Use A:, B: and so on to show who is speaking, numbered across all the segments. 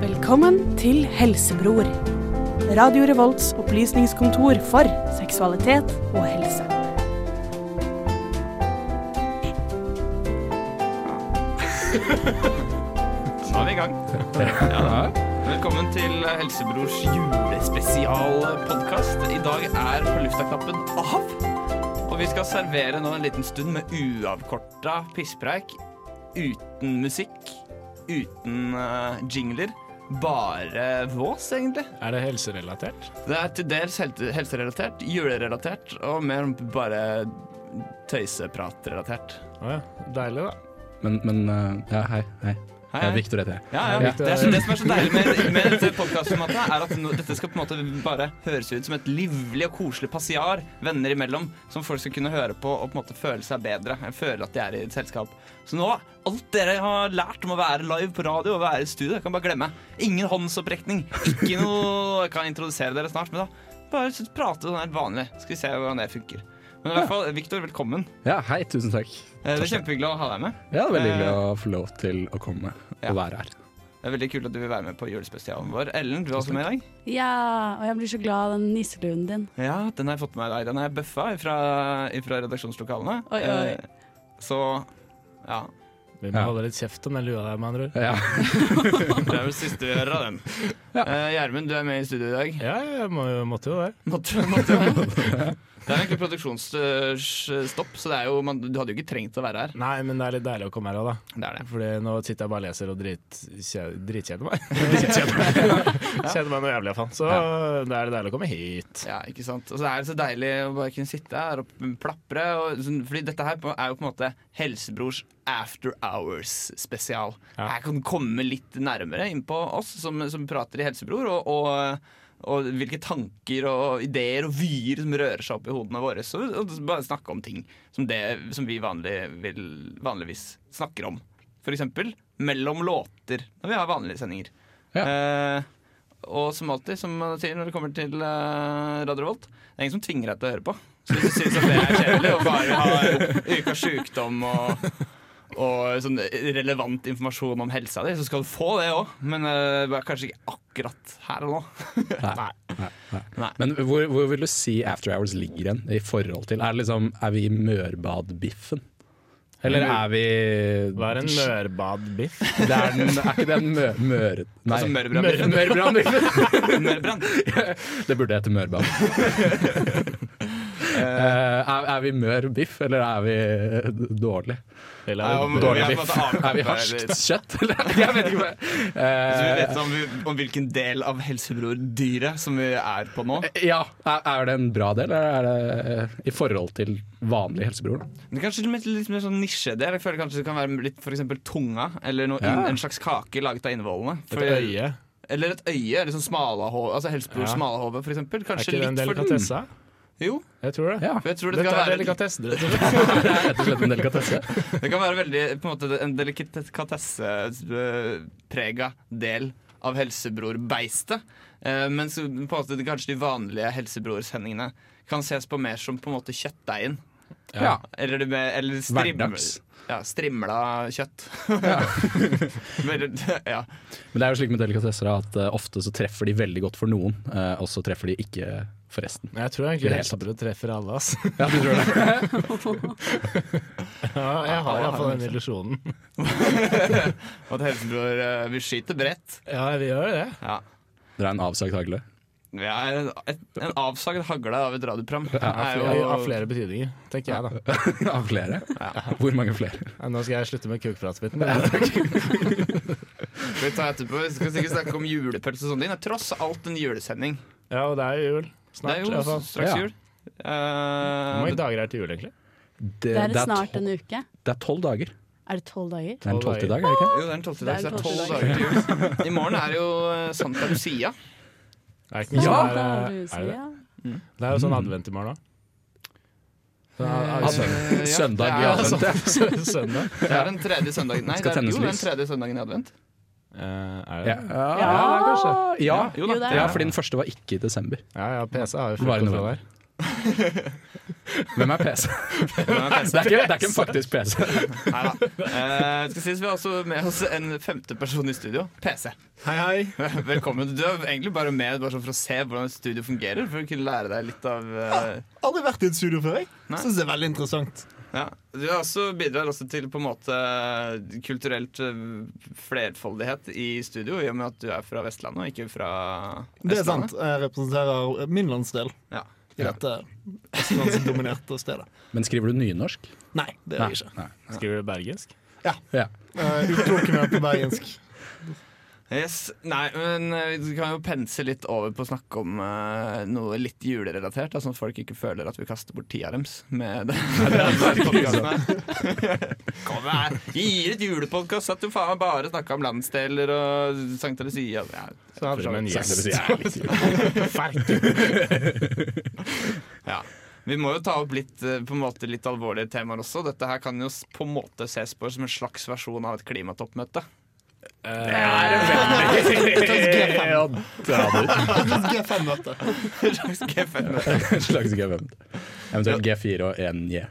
A: Velkommen til Helsebror. Radio Revolts opplysningskontor for seksualitet og helse.
B: Nå er vi i gang. Ja. Velkommen til Helsebrors julespesialpodkast. I dag er på lufta-knappen av. Og vi skal servere nå en liten stund med uavkorta pisspreik. Uten musikk, uten eh, jingler. Bare vås, egentlig.
C: Er det helserelatert?
B: Det er til dels hel- helserelatert, julerelatert og mer bare tøysepratrelatert.
C: Å ja. Deilig, da.
D: Men, men eh, ja, hei. hei.
B: Hei,
D: Ja,
B: hei.
D: Victor heter jeg.
B: Ja, ja.
C: Ja.
B: Det, er, det som er så deilig med, med dette podcastformatet er at no, dette skal på en måte bare høres ut som et livlig og koselig passiar venner imellom, som folk skal kunne høre på og på en måte føle seg bedre. eh, Føle at de er i et selskap. Så nå, alt dere har lært om å være live på radio og være i studio, kan bare glemme. Ingen håndsopprekning. Ikke noe Jeg kan introdusere dere snart, men da bare s- prate sånn helt vanlig. Skal vi se hvordan det funker. Men i hvert fall, Victor, velkommen.
D: Ja, hei, tusen takk.
B: Eh, Det er kjempehyggelig å ha deg med.
D: Ja, det er veldig hyggelig
B: Eh,
D: å få lov til å komme
B: ja.
D: og være her.
B: Det er veldig kult at du vil være med på julespesialen vår. Ellen, du er også med i dag.
E: Ja, og jeg blir så glad av den nisseluen din.
B: Ja, den har jeg fått med meg i dag. Den har jeg bøffa fra, redaksjonslokalene.
E: Oi, oi.
B: Eh, Så ja.
C: Vi må
D: Ja.
C: holde litt kjeft om den lua der, med andre ord.
D: Ja.
B: Det er vel siste vi hører av den.
D: Ja.
B: Eh, Gjermund, du er med i studio i dag.
C: Ja, jeg må, jo- måtte jo det.
B: Måtte, måtte jo det. Det er egentlig produksjonsstopp, så det er jo, man, du hadde jo ikke trengt å være her.
C: Nei, men det er litt deilig å komme her òg, da.
B: Det er det.
C: Fordi nå sitter jeg bare og leser og dritkje- dritkjeder meg. Dritkjeder meg. Kjeder meg noe jævlig, iallfall. Så det er deilig å komme hit.
B: Ja, ikke sant? Og så er det så deilig å bare kunne sitte her og plapre. Og, sånn- fordi dette her på- er jo på en måte Helsebrors after hours-spesial.
C: Ja.
B: Her kan du komme litt nærmere inn på oss som, som prater i Helsebror, og, og, og hvilke tanker og ideer og vyer som rører seg opp i hodene våre. Så, og bare snakke om ting som, det, som vi vanlig vil, vanligvis snakker om. For eksempel mellom låter når vi har vanlige sendinger.
D: Ja.
B: Eh, og som alltid, som man sier når det kommer til eh, Radio Revolt, det er ingen som tvinger deg til å høre på. Så hvis du syns at det er kjedelig å bare ha ukas sjukdom og, og sånn relevant informasjon om helsa di, så skal du få det òg. Men eh, bare kanskje ikke akkurat her og nå.
C: Nei.
D: Nei, nei.
B: Nei.
D: Men hvor, hvor vil du si After Hours ligger hen i forhold til Er, det liksom, er vi i Mørbadbiffen? Eller er vi
C: Mm. Hva er en mørbadbiff?
D: Det er, den, er ikke det en mø, møre... Nei,
B: Altså Mørebrand.
D: Mørbranbiffen!
B: Mørebrand.
D: Det burde hete Mørbad. Eh, er, er vi mørbiff, eller er vi dårlig?
C: Eller
B: Nei, om-
C: dårlig?
B: vi har på
D: Dårlig
B: en
D: biff?
B: måte avkappa
D: Er vi
B: litt.
D: harskt kjøtt, eller? Jeg vet ikke. hva- Eh,
B: Så vi vet om, vi- om hvilken del av helsebror-dyret som vi er på nå.
D: Eh, Ja, er, er det en bra del, eller er det eh, i forhold til vanlig helsebror? da?
B: Men kanskje litt, litt mer sånn nisjedel. Jeg føler kanskje det kan være litt for eksempel tunga, eller noe,
D: Ja.
B: en slags kake laget av innvollene.
C: Et
B: For-
C: øye?
B: Eller et øye, eller sånn smalahove, altså helsebror
C: Ja.
B: smalahove, for eksempel.
C: Er
B: Kanskje
C: ikke det en
B: litt for den.
C: delikatesse?
B: Jo,
C: Jeg tror det.
D: Ja,
B: for jeg tror det
C: Dette
B: skal
C: er
B: være
C: delikatesse. rett og
D: det
C: slett.
D: er rett og slett en delikatesse.
B: Det kan være veldig på en måte en delikatesseprega del av helsebrorbeistet. Eh, mens på en måte de- kanskje de vanlige helsebrorsendingene kan ses på mer som på en måte kjøttdeigen.
D: Ja.
B: Eller, det med, eller strim,
D: Hverdags.
B: Ja, strimla kjøtt. Veldig- ja.
D: Men det er jo slik med delikatesser at eh, ofte så treffer de veldig godt for noen, eh, og så treffer de ikke for resten.
C: Men Jeg tror
D: I
C: egentlig
D: det hele tatt.
C: helsebrød treffer alle, ass.
D: Ja, du tror det?
C: Ja, jeg har iallfall den illusjonen.
B: Og at helsebror eh, Vi skyter bredt.
C: Ja, vi gjør det.
B: Ja.
D: Dere er en avsagt hagle.
B: Vi er en, et, en avsagd hagle av et radioprogram. Det er
C: Ja,
B: jo-
C: Av flere betydninger, tenker jeg da.
D: Av flere? Hvor mange flere?
C: Nei, Nå skal jeg slutte med kukpratsbiten.
B: Vi tar etterpå. Vi skal sikkert snakke om julepølse og sånne ting. Det er tross alt en julesending.
C: Ja, og det er jo jul.
B: Det
C: Snart.
B: er jo
C: i hvert fall.
B: straks
D: altså. Ja.
B: jul. Eh,
C: Hvor mange dager er det til jul, egentlig?
D: Det,
E: Det er snart
D: to-
E: en uke.
D: det er tolv dager.
E: Er det tolv dager?
D: Det er en
C: Tolv
D: tolvte dag,
C: dager.
D: er det ikke?
B: jo, det er den 12. dag, så det er
E: Det er
B: tolv
E: tolvte
B: dager til jul. I morgen er det jo eh, Santa Lucia.
C: Er det ikke noe
D: Ja!
C: sånn
E: Da
C: der,
E: er det,
C: eh, er det?
E: ja.
C: det? Det er jo sånn advent i morgen òg.
D: Altså,
B: Eh, ja,
D: søndag i
B: det er
D: advent. ja.
C: Søndag.
B: Det er den tredje søndagen Nei,
D: Skal
B: det er,
D: tennes
B: jo, det er
D: lys.
B: den tredje søndagen i advent.
C: Eh, er det?
D: Ja.
C: det?
D: Ja, kanskje. Ja.
B: Jo da.
E: Jo, det er
D: ja,
B: det.
D: fordi den første var ikke i desember.
C: Ja ja, PC har jo
D: Bare
C: full kontroll
D: noe.
C: der.
D: Hvem er PC?
B: Den er
D: Det er ikke, det er ikke en faktisk PC.
B: Neida. Eh, det skal sies Vi har også med oss en femte person i studio. PC.
C: Hei, hei.
B: Velkommen. Du er egentlig bare med bare sånn for å se hvordan et studio fungerer. For å kunne lære deg litt av eh,
F: Aldri vært i et studio før, jeg.
B: Nei.
F: Syns det er veldig interessant.
B: ja. Du har også bidrar også til på en måte kulturelt eh, flerfoldighet i studio, i og med at du er fra Vestlandet og ikke fra
F: Det er sant.
B: Østlandet.
F: Jeg representerer min landsdel
B: Ja.
F: i dette østlandsdominerte stedet.
D: Men skriver du nynorsk?
F: Nei, det gjør jeg ikke.
D: Nei.
C: Skriver du bergensk?
D: Ja.
F: Eh, Uttok meg på bergensk.
B: Yes. Nei, men eh, vi kan jo pense litt over på å snakke om eh, noe litt julerelatert, da, sånn at folk ikke føler at vi kaster bort tida deres med det. Kom her! Gir et julepodkast at du faen meg bare snakka om landsdeler og Sankt Lucia. Ja, så
C: For en
D: Sagt
C: gjest.
D: det vil si, jeg er litt-
B: ja. Vi må jo ta opp litt, eh, på en måte litt alvorlige temaer også. Dette her kan jo s- på en måte ses på som en slags versjon av et klimatoppmøte.
C: Ja, da,
F: G5-møte.
B: En slags G5-møte.
D: En slags G5. Eventuelt G4 og 1J.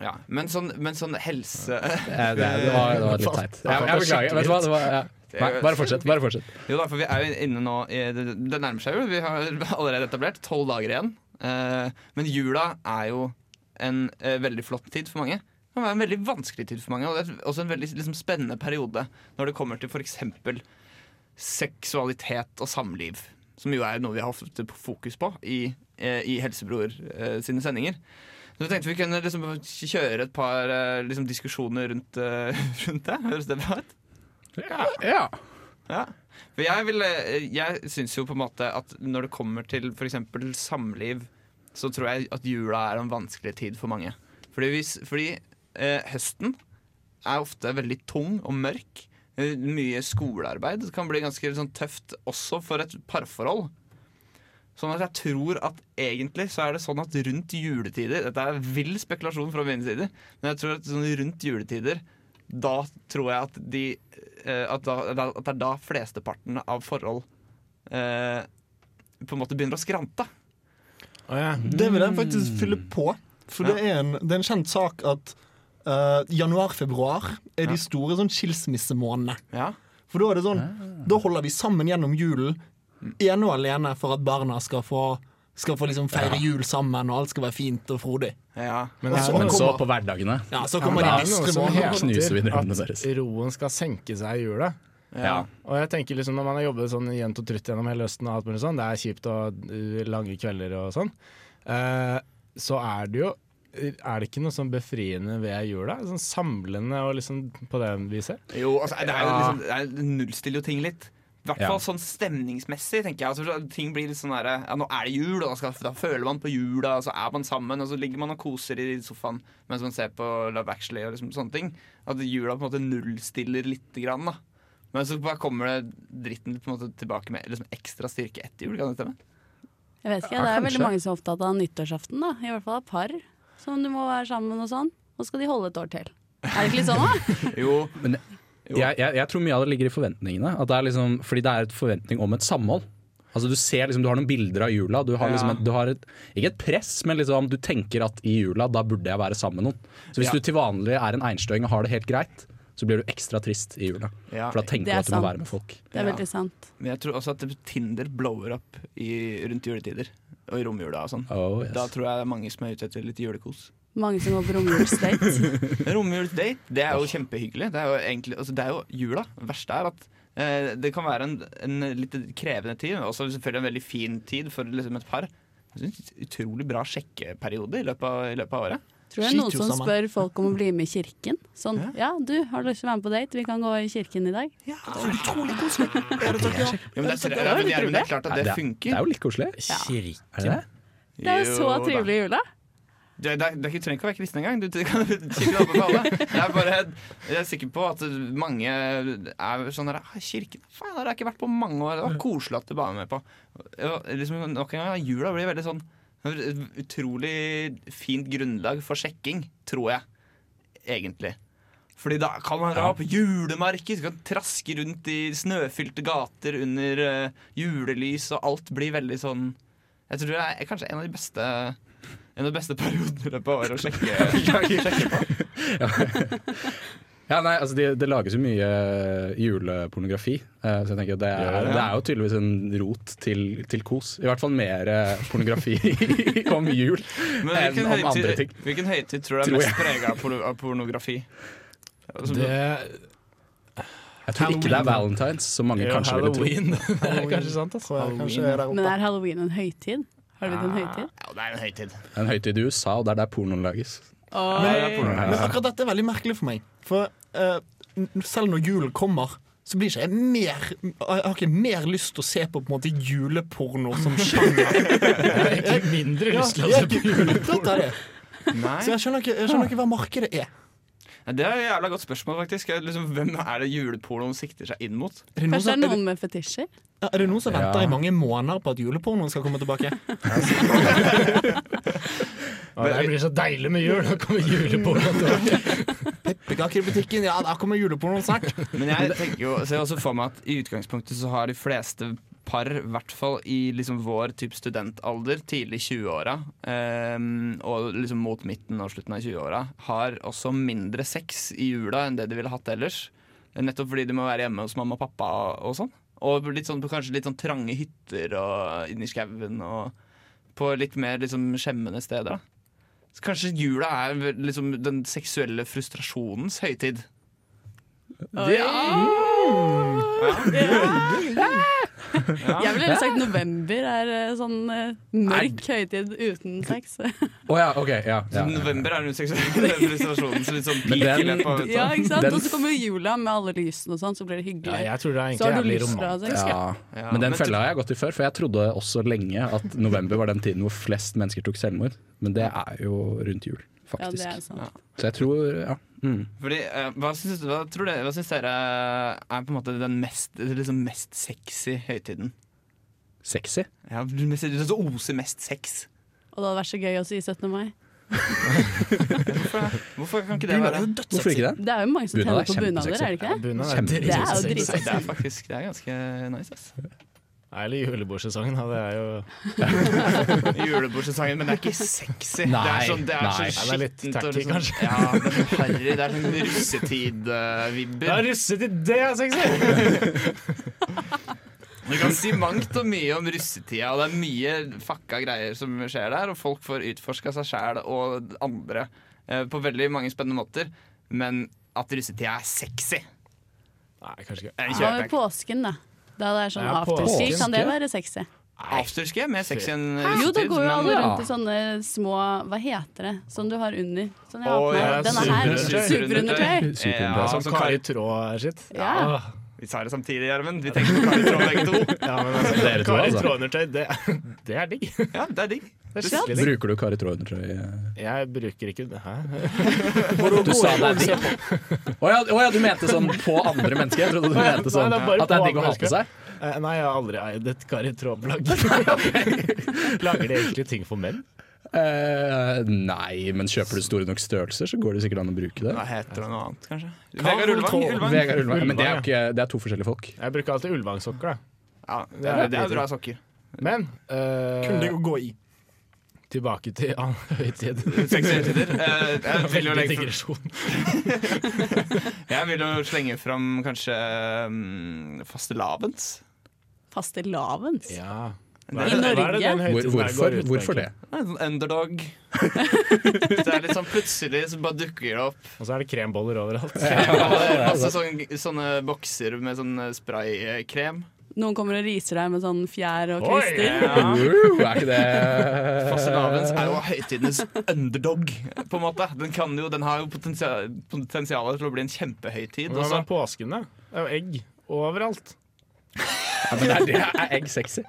B: Ja, men sånn, men sånn helse
D: Eh, Det, det, var, det var litt teit. Jeg, jeg beklager. Vet du hva? Det var, ja. Nei, bare fortsett. bare fortsett
B: Jo da, for vi er jo inne nå i, det, det nærmer seg jul. Vi har allerede etablert tolv dager igjen. Eh, men jula er jo en eh, veldig flott tid for mange. Det kan være en veldig vanskelig tid for mange, og det er også en veldig liksom, spennende periode når det kommer til f.eks. seksualitet og samliv, som jo er noe vi har hatt fokus på i, eh, i Helsebror eh, sine sendinger. Så jeg tenkte vi kunne liksom, kjøre et par eh, liksom, diskusjoner rundt, eh, rundt det. Høres det bra ut?
D: Ja. ja.
B: Ja. For jeg, vil, eh, jeg syns jo på en måte at når det kommer til f.eks. samliv, så tror jeg at jula er en vanskelig tid for mange. Fordi, hvis, fordi eh, høsten er ofte veldig tung og mørk. Eh, Mye skolearbeid. Det kan bli ganske sånn tøft også for et parforhold. Sånn at jeg tror at egentlig så er det sånn at rundt juletider Dette er vill spekulasjon fra min side, men jeg tror at sånn rundt juletider da tror jeg at de eh, at, da, da- at det er da flesteparten av forhold eh, på en måte begynner å skrante.
C: Å, ja.
F: Det vil jeg faktisk fylle på. For det er en, det er en kjent sak at eh, januar-februar er de store sånn skilsmissemånedene.
B: Ja.
F: For da er det sånn, da holder vi sammen gjennom julen, ene og alene for at barna skal få, skal få liksom feire jul sammen, og alt skal være fint og frodig.
B: Ja.
C: Men det er
D: Men
C: noe
D: så på hverdagene
F: Ja, så
C: Men
F: kommer
C: det
F: de
C: er noe
F: bistre
C: som
F: månedene.
D: Knuser vi drømmene
C: heter
D: deres.
C: at roen skal senke seg i jula.
B: Ja.
C: Og jeg tenker liksom Når man har jobbet sånn jevnt og trutt gjennom hele høsten, og alt mulig sånn, det er kjipt og uh, lange kvelder og sånn, eh, så er det jo er det ikke noe sånn befriende ved jula? Sånn Samlende og liksom på det viset?
B: Jo, altså, det er jo liksom, det er- det nullstiller jo ting litt. I hvert
D: Ja.
B: fall sånn stemningsmessig. tenker jeg altså, Ting blir litt sånn der, ja, Nå er det jul, og da, skal, da føler man på jula, og så er man sammen, og så ligger man og koser i sofaen mens man ser på Love Actually og liksom, sånne ting. At jula på en måte nullstiller lite grann. da men så bare kommer det dritten på en måte tilbake med liksom ekstra styrke etter jul. kan det stemme?
E: Jeg vet ikke,
D: Ja,
E: Det er
D: kanskje.
E: veldig mange som er opptatt av nyttårsaften. da I hvert fall av par som du må være sammen med. og sånn Og skal de holde et år til. Er det ikke litt sånn, da?
B: Jo,
D: Men jeg, jeg, jeg tror mye av det ligger i forventningene. At det er liksom, fordi det er et forventning om et samhold. Altså Du ser liksom, du har noen bilder av jula. Du har liksom
B: Ja.
D: et, du har et, ikke et press, men liksom, du tenker at i jula da burde jeg være sammen med noen. Så Hvis
B: Ja.
D: du til vanlig er en einstøing og har det helt greit, så blir du ekstra trist i jula.
B: Ja.
D: For da
E: Det
D: tenker du
E: er
D: at du
E: sant.
D: må være med folk.
E: Det er
B: Ja.
E: veldig sant.
B: Men jeg tror også at Tinder blower opp i, rundt juletider. Og i romjula og sånn.
D: Oh, yes.
B: Da tror jeg det er mange som er ute etter litt julekos.
E: Mange som går på romjulsdate.
B: Romjulsdate, det er jo kjempehyggelig. Det er jo, egentlig, altså, det er jo jula. Det verste er at eh, det kan være en, en litt krevende tid, men også selvfølgelig en veldig fin tid for liksom, et par. Jeg synes, utrolig bra sjekkeperiode i løpet av, i løpet av året.
E: Tror det er noen
F: Skit jo
E: som
F: sammen.
E: spør folk om å bli med i kirken. Sånn, ja, du, har du lyst til å være med på date? Vi kan gå i kirken i dag.
B: Ja, men det, er,
E: det
B: ja,
E: var
B: men det,
E: litt
B: er, men det
E: rolig.
B: er klart
D: Nei,
B: at det
D: er- Det
B: funker.
D: er jo litt koselig.
C: Kirke?
D: Er det det?
E: Det er jo så
B: da.
E: trivelig i jula.
B: Du, det, er- det er ikke- trenger ikke å være kristen engang. Du, du kan sikkert anbefale. Jeg er bare jeg er sikker på at mange er sånn der «Ah, Kirken faen, det har jeg ikke vært på mange år. Det var koselig at du ba meg med på. Ja, liksom, nok en gang, Jula blir veldig sånn utrolig fint grunnlag for sjekking, tror jeg. Egentlig. Fordi da kan man dra på julemarked, så kan man traske rundt i snøfylte gater under eh, julelys, og alt blir veldig sånn Jeg tror det er kanskje en av de beste en av de beste periodene i løpet av året å sjekke, sjekke på.
D: Ja, nei, altså Det, det lages jo mye julepornografi, eh, så jeg tenker at det er,
B: Gjør det, ja.
D: det er jo tydeligvis en rot til, til kos. I hvert fall mer eh, pornografi om jul
B: Men
D: enn
B: hvilken
D: om andre ting.
B: høytid, hvilken høytid tror du er
D: Tror jeg.
B: mest prega av porno- av pornografi? Altså,
C: Det,
D: Jeg tror ikke det er valentines, som mange
C: ja,
D: kanskje ville tro.
C: Halloween. Det er kanskje sant, altså.
F: Kanskje
C: Halloween.
F: er der
E: Men
F: oppe.
E: er halloween en høytid? Har det blitt en høytid?
B: Ja, det er en høytid.
D: Det er En høytid i USA, og det er der pornoen lages.
B: Ja, det er porno.
F: Men akkurat dette er veldig merkelig for meg. For eh, n- selv når julen kommer, så blir ikke jeg mer Jeg har ikke mer lyst til å se på, på en måte juleporno som sjanger.
C: Jeg har egentlig mindre
F: Ja,
C: lyst altså. til å se
F: jeg er
C: på
F: ikke opptatt av det. Så
B: Nei,
F: jeg skjønner ikke, jeg skjønner ikke hva markedet er.
B: det er et jævla godt spørsmål, faktisk. Jeg- Liksom, hvem er det julepornoen sikter seg inn mot?
F: Er det noen
E: Kanskje det er
F: som, er det,
E: noen med fetisjer?
F: er det noen som venter
D: Ja.
F: i mange måneder på at julepornoen skal komme tilbake?
C: Ja, Det blir så deilig med jul! Nå kommer julebordet.
F: Pepperkaker i butikken, ja, der kommer julepornoen snart.
B: Men jeg tenker jo ser også for meg at i utgangspunktet så har de fleste par, i hvert fall i liksom vår type studentalder, tidlig 20-åra, ehm, og liksom mot midten og slutten av 20-åra, har også mindre sex i jula enn det de ville hatt ellers. Nettopp fordi de må være hjemme hos mamma og pappa og, og sånn. Og litt sånn, på kanskje litt sånn trange hytter og inni skauen og på litt mer liksom skjemmende steder. da. Så kanskje jula er liksom den seksuelle frustrasjonens høytid.
E: Jeg ville heller sagt november er eh, sånn eh, mørk høytid uten sex.
D: Å ja, ok. Ja,
B: Så
D: ja.
B: november er den seksuelle frustrasjonen som litt sånn
D: Men
B: peak i
D: den-
B: løpet av vinteren.
E: Ja, ikke sant?
D: Den-
E: Og så kommer jo jula med alle lysene og sånn, så blir det hyggelig.
C: Ja, jeg tror det er
E: så
C: egentlig
E: har du
C: jævlig
E: lyst til å ha
C: romantisk.
E: sex.
D: Ja.
B: Ja,
D: Men den
B: men
D: fella har jeg gått i før, for jeg trodde også lenge at november var den tiden hvor flest mennesker tok selvmord. Men det er jo rundt jul,
E: Ja, det
D: faktisk.
E: er sant.
D: Så jeg tror ja. Mm.
B: Fordi, eh, hva, syns, hva, tror dere, hva syns dere er på en måte den mest, liksom mest sexy høytiden?
D: Sexy.
B: Ja, den mest- den som oser mest sex.
E: Og det hadde vært så gøy også i 17. mai.
B: Hvorfor kan ikke det
F: Bunad
B: være
F: er jo
D: Hvorfor
F: dødssexy.
D: ikke den?
E: Det er jo mange som
D: Bunad er
E: tenner på bunader, er det ikke det?
C: Bunad
D: Kjempe-
C: drittsexy.
E: Det er jo
B: Det
E: dritsexy.
B: er faktisk det er ganske nice. ass
C: Nei, Eller julebordsesongen. da, Det er jo
B: Julebordssesongen, men det er ikke sexy. det
D: Nei,
B: er sånn, det er
D: nei.
B: sånn
C: Ja, det er litt
B: skittent og
C: tacky,
B: liksom-
C: kanskje.
B: Ja, det er sånn harry. Det er sånn eh, russetid-vibber.
C: Ja, russetid! Det altså, er sexy!
B: Vi kan si mangt og mye om russetida, og det er mye fucka greier som skjer der. Og folk får utforska seg sjæl og andre eh, på veldig mange spennende måter. Men at russetida er sexy,
C: Nei, kanskje ikke.
B: den
E: Hva
B: kjøper
E: med
B: jeg ikke.
E: påsken, da? Da det er sånn
C: Ja,
E: afterski,
D: påsken.
E: kan det være sexy?
B: Afterski er mer sexy enn
E: Jo, da
B: russetid.
E: går jo alle
B: men-
E: rundt i sånn- sånne små Hva heter det? Som du har under. Sånn jeg har
B: Å,
E: på
B: ja,
E: meg. Denne her.
B: superundertøy.
E: Superundertøy.
D: Superundertøy.
B: Ja,
C: Sånn
F: altså,
B: som Kari
C: Kari Traa-shit.
E: Ja.
C: Åh,
B: Vi tar det samtidig, Gjermund. Vi tenker på Kari Traa begge to.
C: Ja, men altså,
D: Dere to,
C: Kari
D: altså.
C: Traa-undertøy, det, det er digg. Det
B: Ja, det er digg.
C: er skikkelig digg.
D: Bruker du Kari Traa-undertrøye?
C: Jeg bruker ikke det. Hæ?
D: Du sa det er digg. Å ja, å ja, du mente sånn på andre mennesker? Jeg trodde du mente sånn
C: Nei, det er bare
D: at det
C: på
D: er digg å
C: andre
D: ha på seg.
C: Eh, Nei, jeg har aldri eid et Kari Traa-plagg. Lager de egentlig ting for menn?
D: Eh, nei, men kjøper du store nok størrelser, så går det sikkert an å bruke det.
B: Hva heter det noe annet, kanskje?
F: Kari
B: Vegard Ulvang.
F: Traa.
B: Ulvang.
D: Vegard Ulvang. Men det er, jo
C: Ulvang,
D: ikke, det er to forskjellige folk.
C: Jeg bruker alltid Ulvang-sokker, da.
B: Ja, det er, det er bra sokker.
C: Men eh,
F: Kun det å gå i.
C: tilbake til annen høytid.
B: Sexy høytider. Eh, jeg vil jo
C: Veldig
B: legge
C: digresjon.
B: Jeg vil jo slenge fram kanskje um, fastelavns.
E: Fastelavns.
C: Ja.
B: Hva er det-
E: Norge?
D: Hvor, hvorfor, hvorfor det?
B: Det er en sånn underdog. det er litt sånn plutselig så bare dukker det opp.
C: Og så er det kremboller overalt.
B: Masse sånne, sånne bokser med sånn spraykrem.
E: Noen kommer og riser deg med sånn fjær og
C: Oi,
E: kvister.
B: Ja.
D: Woo, er ikke det
B: Fastelavns er jo høytidenes underdog, på en måte. Den, kan jo, den har jo potensial, potensialet til å bli en kjempehøytid.
C: Hva
B: Og så
C: med påsken, da? Det er jo egg overalt.
D: Ja, men er, det, er egg sexy?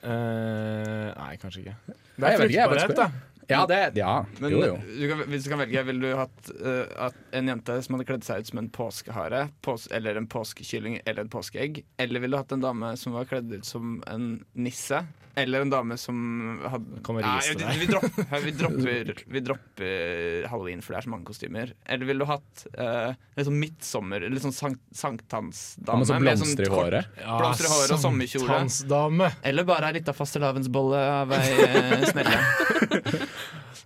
C: Eh, nei, kanskje ikke.
D: Nei, jeg vet ikke, jeg bare
C: fruktbarhet,
D: spør.
C: da.
D: Ja, det, ja.
B: Men
D: jo, jo.
B: Du kan, hvis du kan velge, ville du hatt eh, at en jente som hadde kledd seg ut som en påskehare, pås eller en påskekylling eller et påskeegg? Eller ville du hatt en dame som var kledd ut som en nisse? Eller en dame som hadde
C: Kommer
B: Nei,
C: riste
B: vi,
C: deg.
B: vi, dropper, vi, dropper, vi dropper halloween, for det er så mange kostymer. Eller ville du hatt eh, litt sånn midtsommer, litt sånn sank
D: Ja,
B: sankthansdame?
D: men så
B: med sånn
D: blomster i
B: kort-
D: håret.
B: Blomster i håret og sommerkjole.
C: Sankthansdame.
B: Eller bare ei lita fastelavnsbolle av ei eh, snelle.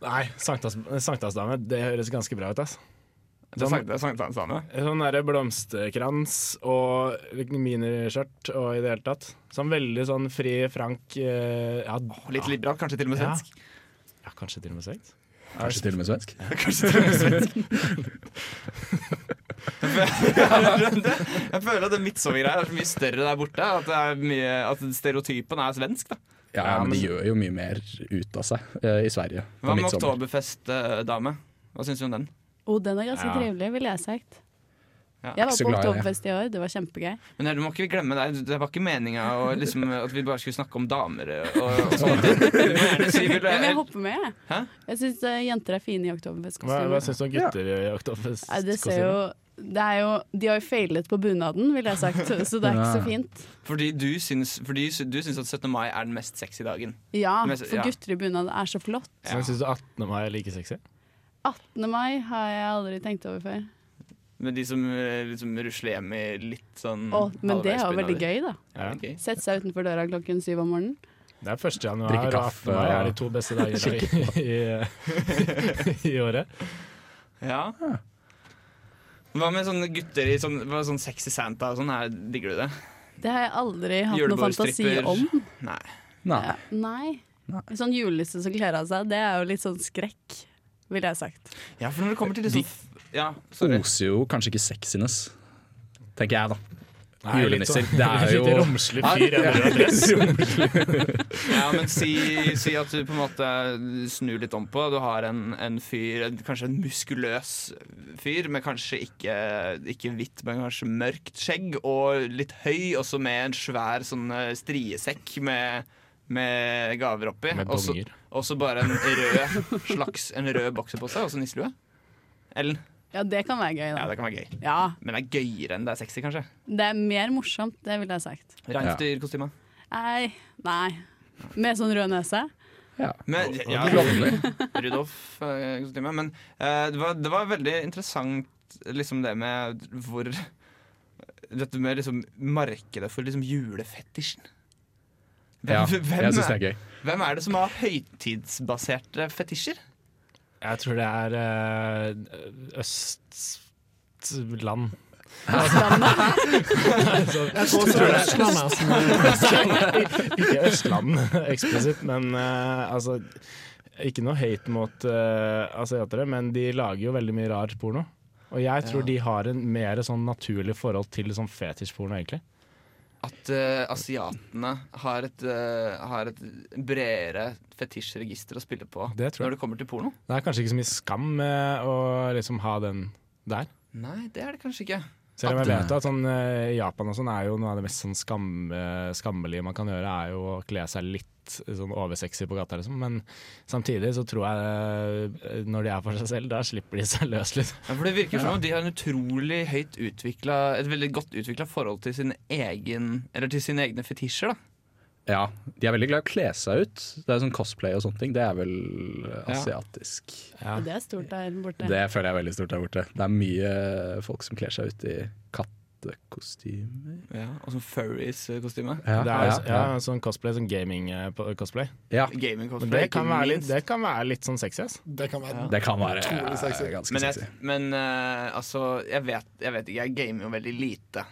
C: Nei, sankthans- sankthansdame. Det høres ganske bra ut, ass.
B: Det er sank- det er sankthansdame.
C: Sånn derre blomsterkrans og miniskjørt og i det hele tatt. Sånn veldig sånn fri, frank eh, ja,
B: Litt liberalt, kanskje til og med
C: Ja.
B: svensk.
C: ja, kanskje til og med svensk.
D: Kanskje til og med svensk.
B: Kanskje til og med svensk. Jeg føler at det midtsommergreia er så mye større der borte. At, det er mye, at stereotypen er svensk. da
D: Ja, ja, men de gjør jo mye mer ut av seg eh, i Sverige. på
B: Hva med
D: midtsommer.
B: Oktoberfest-dame? Hva syns du om den?
E: Og den er ganske
C: Ja.
E: trivelig, ville jeg sagt.
B: Ja,
E: jeg
D: ikke
E: var
D: så
E: på
D: glad i det.
E: Oktoberfest i år, det var kjempegøy.
B: Men du må ikke glemme deg, Det var ikke meninga å liksom, at vi bare skulle snakke om damer og, og sånne ting. Du må gjerne si vil du-
E: Ja, men jeg hopper med, jeg.
B: Hæ?
E: Jeg syns jenter er fine i
C: Hva, hva
E: Oktoberfest-kostymer.
C: syns du om gutter i oktoberfest?
E: Nei, det ser jo det er jo, De har jo feilet på bunaden, ville jeg sagt, så det er ikke så
D: Ja.
E: fint.
B: Fordi du syns, fordi du syns at 17. mai er den mest sexy dagen.
E: Ja,
B: Men jeg-
E: for
B: ja.
E: gutter i bunad er så flott.
C: Så Syns Sånn, du 18. mai er like sexy?
E: 18. mai har jeg aldri tenkt over før.
B: Med de som eh, liksom rusler hjem i litt sånn
E: Å, men det er jo
B: halvveisbunader.
E: veldig gøy, da.
C: Ja.
B: Ok.
E: Sette seg utenfor døra klokken syv om morgenen.
C: Det er 1. januar
D: Drikke
C: og 18.
D: kaffe
C: mai er
D: og-
C: de to beste dagene i, i, i året.
B: Ja. Hva med sånne gutter i sånn, hva med sånn sexy Santa og sånn? Her, digger du det?
E: Det har jeg aldri hatt noe fantasi
B: Julebordstripper.
E: om.
B: Nei.
D: Nei.
E: Ja, nei.
D: Nei.
E: Sånn julelisse som kler av seg, det er jo litt sånn skrekk, ville jeg sagt.
B: Ja, for når det kommer til
D: De- Oh.
B: liksom Ja, sorry.
D: Oser jo kanskje ikke sexiness, tenker jeg da.
C: Nei,
D: Julenisser,
C: litt sånn-
D: det er jo-
C: Litt romslig fyr i en rød dress.
B: Ja, men si, si at du på en måte snur litt om på. Du har en, en fyr, en, kanskje en muskuløs fyr, men kanskje ikke, ikke hvitt, men kanskje mørkt skjegg. Og litt høy, også med en svær sånn eh, striesekk med, med gaver oppi.
C: Med
B: Også-
C: bonger.
B: Også bare en rød slags En rød bokser på seg, og så nisselue. Ellen?
E: Ja, det kan være gøy,
B: Ja,
E: da.
B: det kan være gøy.
E: Ja,
B: Men det er gøyere enn det er sexy, kanskje.
E: det er mer morsomt, det ville jeg sagt.
B: Reinsdyrkostyme.
E: Nei, nei. Med sånn rød nese.
D: Ja.
B: Men- Ja,
D: Klovner.
B: Rudolf-kostyme. Men eh, det, var, det var veldig interessant liksom det med hvor Dette med liksom markedet for liksom julefetisjen. Hvem,
D: Ja,
B: hvem,
D: jeg syns det
B: er,
D: er gøy.
B: hvem er det som har høytidsbaserte fetisjer?
C: Jeg tror det er eh, østland.
E: Sånn,
F: Jeg tror også det er Østlandet som
C: Ikke Østland eksplisitt, men eh, altså Ikke noe hate mot eh, asiatere, men de lager jo veldig mye rar porno. Og jeg tror de har en mer sånn naturlig forhold til sånn fetisjporno, egentlig.
B: At eh, asiatene har et, eh, har et bredere fetisjregister å spille på
C: Det tror jeg.
B: når det kommer til porno?
C: Det er kanskje ikke så mye skam med å liksom ha den der.
B: Nei, det er det kanskje ikke.
C: Selv
D: At
C: om jeg vet
D: det-
C: at sånn, eh, Japan og sånn er jo noe av det mest sånn skam, eh, skammelige man kan gjøre, er jo å kle seg litt sånn oversexy på gata, liksom. Men samtidig så tror jeg eh, når de er for seg selv, da slipper de seg løs liksom. litt.
B: Ja, for det virker som om de har en utrolig høyt utvikla Et veldig godt utvikla forhold til sin egen Eller til sine egne fetisjer, da.
D: Ja, De er veldig glad i å kle seg ut. Det er sånn cosplay og sånne ting. Det er vel asiatisk.
C: Ja.
E: Det er stort der borte.
D: Det føler jeg er veldig stort der borte. Det er mye folk som kler seg ut i kattekostymer.
B: Ja, og sånn furries-kostyme.
D: Ja,
C: Det er jo
D: ja,
C: s-
D: ja.
C: ja, sånn cosplay, sånn gaming-cosplay.
D: ja.
C: Men det
B: Gaming-cosplay.
C: kan,
B: ikke
C: være litt,
B: minst.
C: det kan være litt sånn sexy, ass.
F: Det kan være
D: Det kan være
F: Utrolig sexy.
D: eh, ganske
B: Men,
D: sexy.
B: jeg, men eh, altså, jeg vet, jeg vet ikke. Jeg gamer jo veldig lite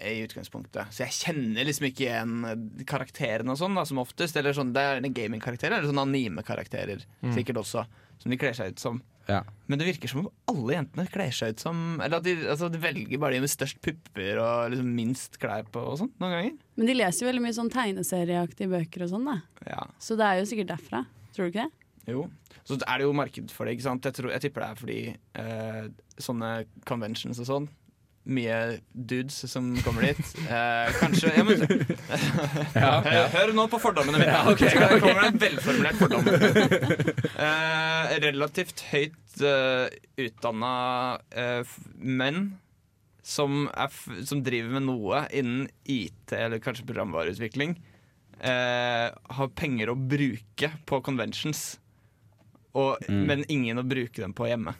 B: i utgangspunktet. Så jeg kjenner liksom ikke igjen eh, karakterene og sånn, da, som oftest. Eller sånn, det er en gamingkarakter eller sånne anime-karakterer sikkert også, som de kler seg ut som.
D: Ja.
B: Men det virker som om alle jentene kler seg ut som Eller at de, altså, de velger bare de med størst pupper og liksom minst klær på og sånn, noen ganger.
E: Men de leser jo veldig mye sånn tegneserieaktige bøker og sånn, da.
B: Ja,
E: Så det er jo sikkert derfra. Tror du ikke det?
B: jo. Så er det jo marked for det, ikke sant. Jeg, tror, jeg tipper det er fordi eh, sånne conventions og sånn mye dudes som kommer dit. Eh, kanskje ja, men,
D: Ja,
B: hør, hør nå på fordommene mine.
D: Ja, ok,
B: Så her kommer det en velformulert fordom. Eh, relativt høyt uh, utdanna eh, f- menn som, er f som driver med noe innen IT eller kanskje programvareutvikling, eh, har penger å bruke på conventions, og,
D: Mm.
B: men ingen å bruke dem på hjemme.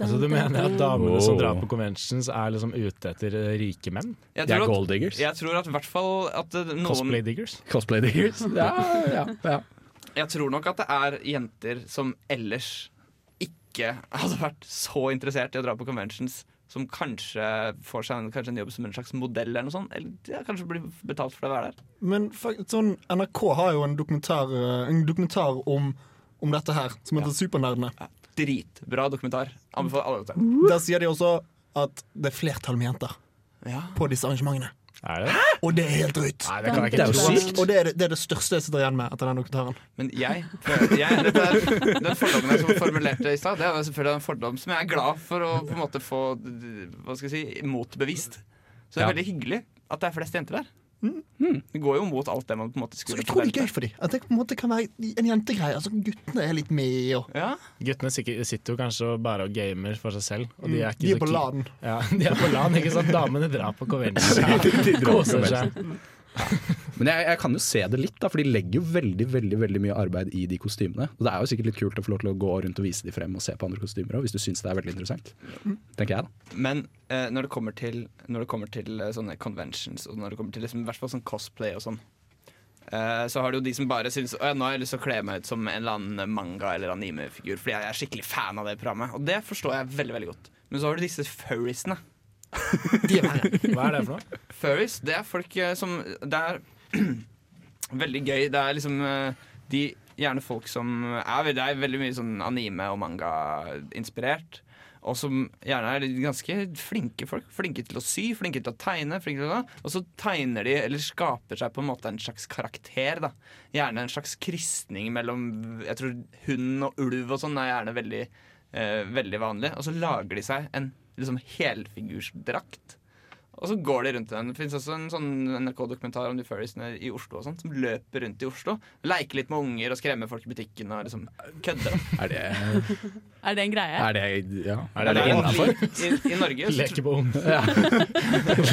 C: Altså, du mener at damene
D: Wow.
C: som drar på conventions, er liksom ute etter eh, rike menn?
B: Jeg
D: De er
B: tror at,
D: gold diggers.
B: jeg tror at i hvert fall at eh, noen
C: Cosplay diggers?
D: Cosplay diggers. Ja, ja, ja.
B: Jeg tror nok at det er jenter som ellers ikke hadde vært så interessert i å dra på conventions, som kanskje får seg en, kanskje en jobb som en slags modell eller noe sånt. Eller ja, kanskje blir betalt for det å være der.
F: Men fakt- sånn, NRK har jo en dokumentar, eh, en dokumentar om, om dette her, som heter Supernerdene.
B: Dritbra dokumentar. Anbefaler alle å se.
F: Der sier de også at det er flertall med jenter
B: Ja.
F: på disse arrangementene.
C: Er det det?
F: Og det er helt drøyt!
C: Nei, det kan jeg
D: Det
C: ikke
D: er jo
C: tro.
D: sykt.
F: Og det er det, det er det største jeg sitter igjen med etter den dokumentaren.
B: Men jeg, føler- jeg dette er, Den fordommen jeg som formulerte i stad, det er jo selvfølgelig en fordom som jeg er glad for å på en måte få hva skal jeg si, motbevist. Så det er
D: Ja.
B: veldig hyggelig at det er flest jenter der. Mm. Det går jo mot alt det man på en måte
F: Mm. Så
B: skulle
F: utrolig
B: forvente.
F: gøy for dem. At det på en måte kan være en jentegreie. Altså, guttene er litt med og
B: Ja.
C: Guttene sikkert, sitter jo kanskje og bare og gamer for seg selv. Og de er, ikke
F: De er
C: så
F: på
C: keen-
F: laden.
C: Ja, de er på LAN, ikke sant. Damene drar på conventions. Koser seg.
D: Men jeg, jeg kan jo se det litt, da, for de legger jo veldig veldig, veldig mye arbeid i de kostymene. Og Det er jo sikkert litt kult å få lov til å gå rundt og vise de frem og se på andre kostymer også, hvis du syns det er veldig interessant. Tenker jeg da
B: Men eh, når det kommer til, når det kommer til eh, sånne conventions, og når det kommer til liksom, i hvert fall sånn cosplay og sånn, eh, så har du jo de som bare syns at nå har jeg lyst til å kle meg ut som en eller annen manga- eller animefigur, fordi jeg er skikkelig fan av det programmet. Og det forstår jeg veldig veldig godt. Men så har du disse furriesene.
F: De er verre.
C: Hva er det for noe?
B: Furries, det er folk eh, som Det er veldig gøy. Det er liksom eh, de gjerne folk som er, ve- Det er veldig mye sånn anime- og manga-inspirert. Og som gjerne er ganske flinke folk. Flinke til å sy, flinke til å tegne. Flinke til å, sånn. og så tegner de, eller skaper seg på en måte en slags karakter. da Gjerne en slags kristning mellom Jeg tror hund og ulv og sånn er gjerne veldig, eh, veldig vanlig. Og så lager de seg en liksom helfigursdrakt. Og så går de rundt i den. Det fins også en sånn NRK-dokumentar om de furriesene i Oslo og sånt, som løper rundt i Oslo. Leker litt med unger og skremmer folk i butikken og liksom kødder.
D: Er det,
E: Er det en greie?
D: er det, ja.
C: Er det
B: en
C: innenfor?
B: li- I, i, Norge, så,
C: Leke på ung.
B: tr-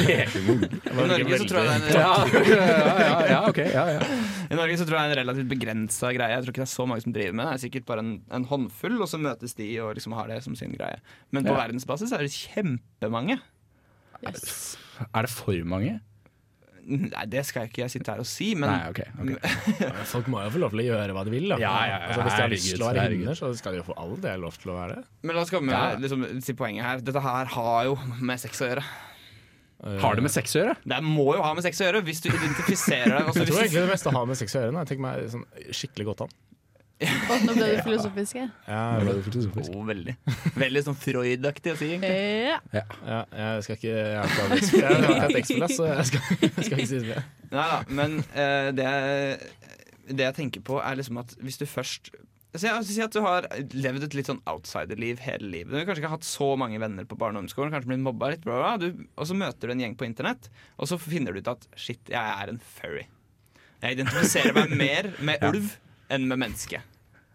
B: I Norge så tror jeg det er en,
D: Ja, ja, ja, ja, ok. Ja, ja.
B: I Norge så tror jeg det er en relativt begrensa greie. Jeg tror ikke det er så mange som driver med det. Det er sikkert bare en, en håndfull, og så møtes de og liksom har det som sin greie. Men på
D: Ja.
B: verdensbasis er det kjempemange.
E: Yes.
D: Er det for mange?
B: Nei, det skal jeg ikke jeg sitte her og si, men
D: Nei, ok. ok.
C: Folk må jo få lov til å gjøre hva de vil. Da.
D: Ja, ja, ja,
C: altså, hvis de har lyst til å være
D: herregud,
C: inne, så skal de jo for all del lov til å være det.
B: Men la oss komme
D: Ja.
B: med liksom, til poenget her. Dette her har jo med sex å gjøre.
D: Har det med sex å gjøre?
B: Det må jo ha med sex å gjøre, hvis du identifiserer deg. Altså,
C: Jeg
B: hvis
C: tror
B: du,
C: egentlig det meste har med sex å gjøre. nå. Jeg tenker meg sånn, skikkelig godt an.
E: Å, nå ble det filosofiske.
D: Nå
C: Ja,
D: ble det filosofisk.
B: oh, veldig Veldig sånn Freud-aktig å si. egentlig.
E: Ja.
C: ja, jeg skal ikke Jeg har ikke hatt eks- jeg har ikke hatt ekspress, så jeg skal, jeg skal ikke si det.
B: Neida, men eh, det, det jeg tenker på, er liksom at hvis du først Si si at du har levd et litt sånn outsiderliv hele livet. Du har kanskje ikke hatt så mange venner på barneomskolen, kanskje blitt mobba litt, bla, bla, bla. Du, og så møter du en gjeng på internett, og så finner du ut at shit, jeg er en furry. Jeg identifiserer meg mer med ulv enn med menneske.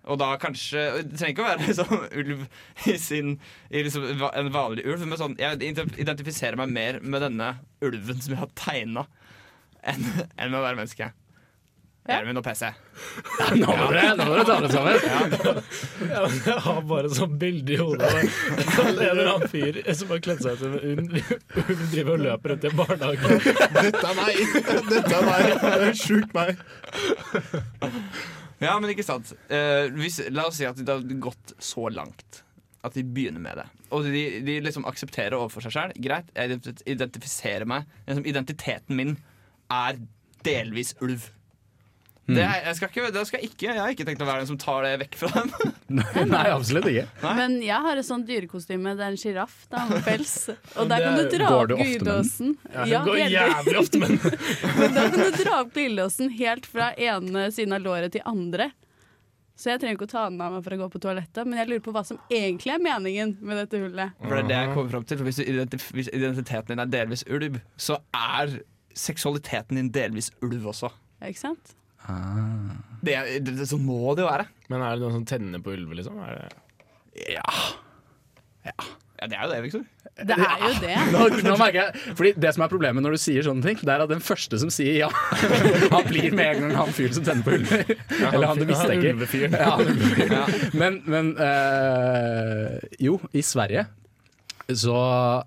B: Og da kanskje og Det trenger ikke å være liksom, ulv i sin i liksom, va- En vanlig ulv, men sånn Jeg identifiserer meg mer med denne ulven som jeg har tegna enn enn å være menneske. Gjermund og PC.
D: Nå må dere nå må dere ta det sammen!
C: Ja, men jeg har bare sånn bilde i hodet av en eller annen fyr som har kledd seg ut som en ulv, Ulv driver og løper rundt i barnehagen.
F: Dette er meg! Dette er meg! Det er sjukt meg.
B: Ja, men ikke sant. Eh, hvis, la oss si at det har gått så langt at de begynner med det. Og de, de liksom aksepterer overfor seg sjøl. Greit, jeg ident- identifiserer meg liksom Identiteten min er delvis ulv. Det er, jeg, skal ikke, det skal jeg ikke, jeg har ikke tenkt å være den som tar det vekk fra dem.
D: Nei, absolutt ikke.
E: Men jeg har et sånt dyrekostyme. Det er en sjiraff med pels. Og der kan
C: Det
E: du dra
D: går
E: opp
D: du ofte med den?
E: glidelåsen.
C: Det går jævlig ofte, men
E: Men da kan du dra opp glidelåsen helt fra ene siden av låret til andre. Så jeg trenger ikke å ta den av meg for å gå på toalettet, men jeg lurer på hva som egentlig er meningen med dette hullet.
B: For det er det jeg kommer frem til. Hvis, du identif hvis identiteten din er delvis ulv, så er seksualiteten din delvis ulv også.
E: Ja, Ikke sant?
B: Det, det, det, så må det jo være.
C: Men er det noen som tenner på ulver, liksom? Er det
B: Ja, det er jo det, Victor.
E: Det er jo det.
D: Nå, nå merker jeg, fordi Det som er problemet når du sier sånne ting, Det er at den første som sier ja, han blir med en gang han fyren som tenner på ulver. Eller han du mistenker.
C: Ulvefyren.
D: Ja, han ulvefyren. Men, men eh, jo, i Sverige så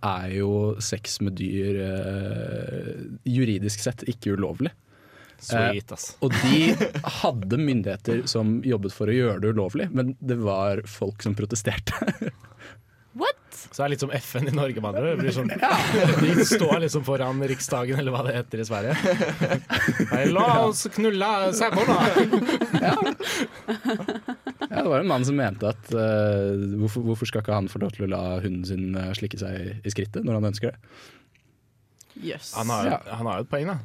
D: er jo sex med dyr eh, juridisk sett ikke ulovlig. Eh,
C: Sweet, ass.
D: Og de hadde myndigheter som jobbet for å gjøre det ulovlig, men det var folk som protesterte.
E: What?
C: Så det er litt som FN i Norge, med andre ord. Det blir Sånn, de står liksom foran Riksdagen, eller hva det heter i Sverige. Nei, la oss knulle sauene!
D: Ja, det var en mann som mente at eh, hvorfor, hvorfor skal ikke han få lov til å la hunden sin eh, slikke seg i skrittet når han ønsker det?
E: Jøss.
C: Han har,
D: Ja.
C: jo- han har jo et poeng, da.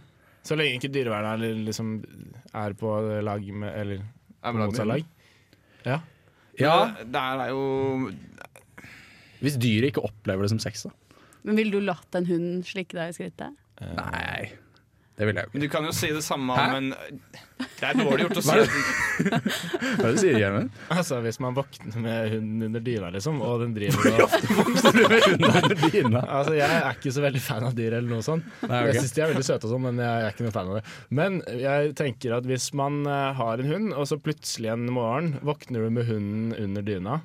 C: Så lenge ikke dyrevernet er, li- liksom, er på lag med Eller på motsatt lag. Ja.
D: Ja,
B: Det er jo
D: Hvis dyret ikke opplever det som sex, da.
E: Men ville du latt en hund slikke deg i skrittet?
D: Nei, det ville jeg jo ikke.
B: Men du kan jo si det samme
D: Hæ?
B: om en Det er dårlig gjort å si
D: Hva er
B: at-
D: Hva er det du sier, Gjermund?
C: Altså, hvis man våkner med hunden under dyna, liksom, og den driver og
D: Står du med hunden under dyna?
C: Altså, jeg er ikke så veldig fan av dyr eller noe sånt.
D: Nei, ok.
C: Jeg syns de er veldig søte og sånn, men jeg er ikke noe fan av det. Men jeg tenker at hvis man eh, har en hund, og så plutselig en morgen våkner du med hunden under dyna,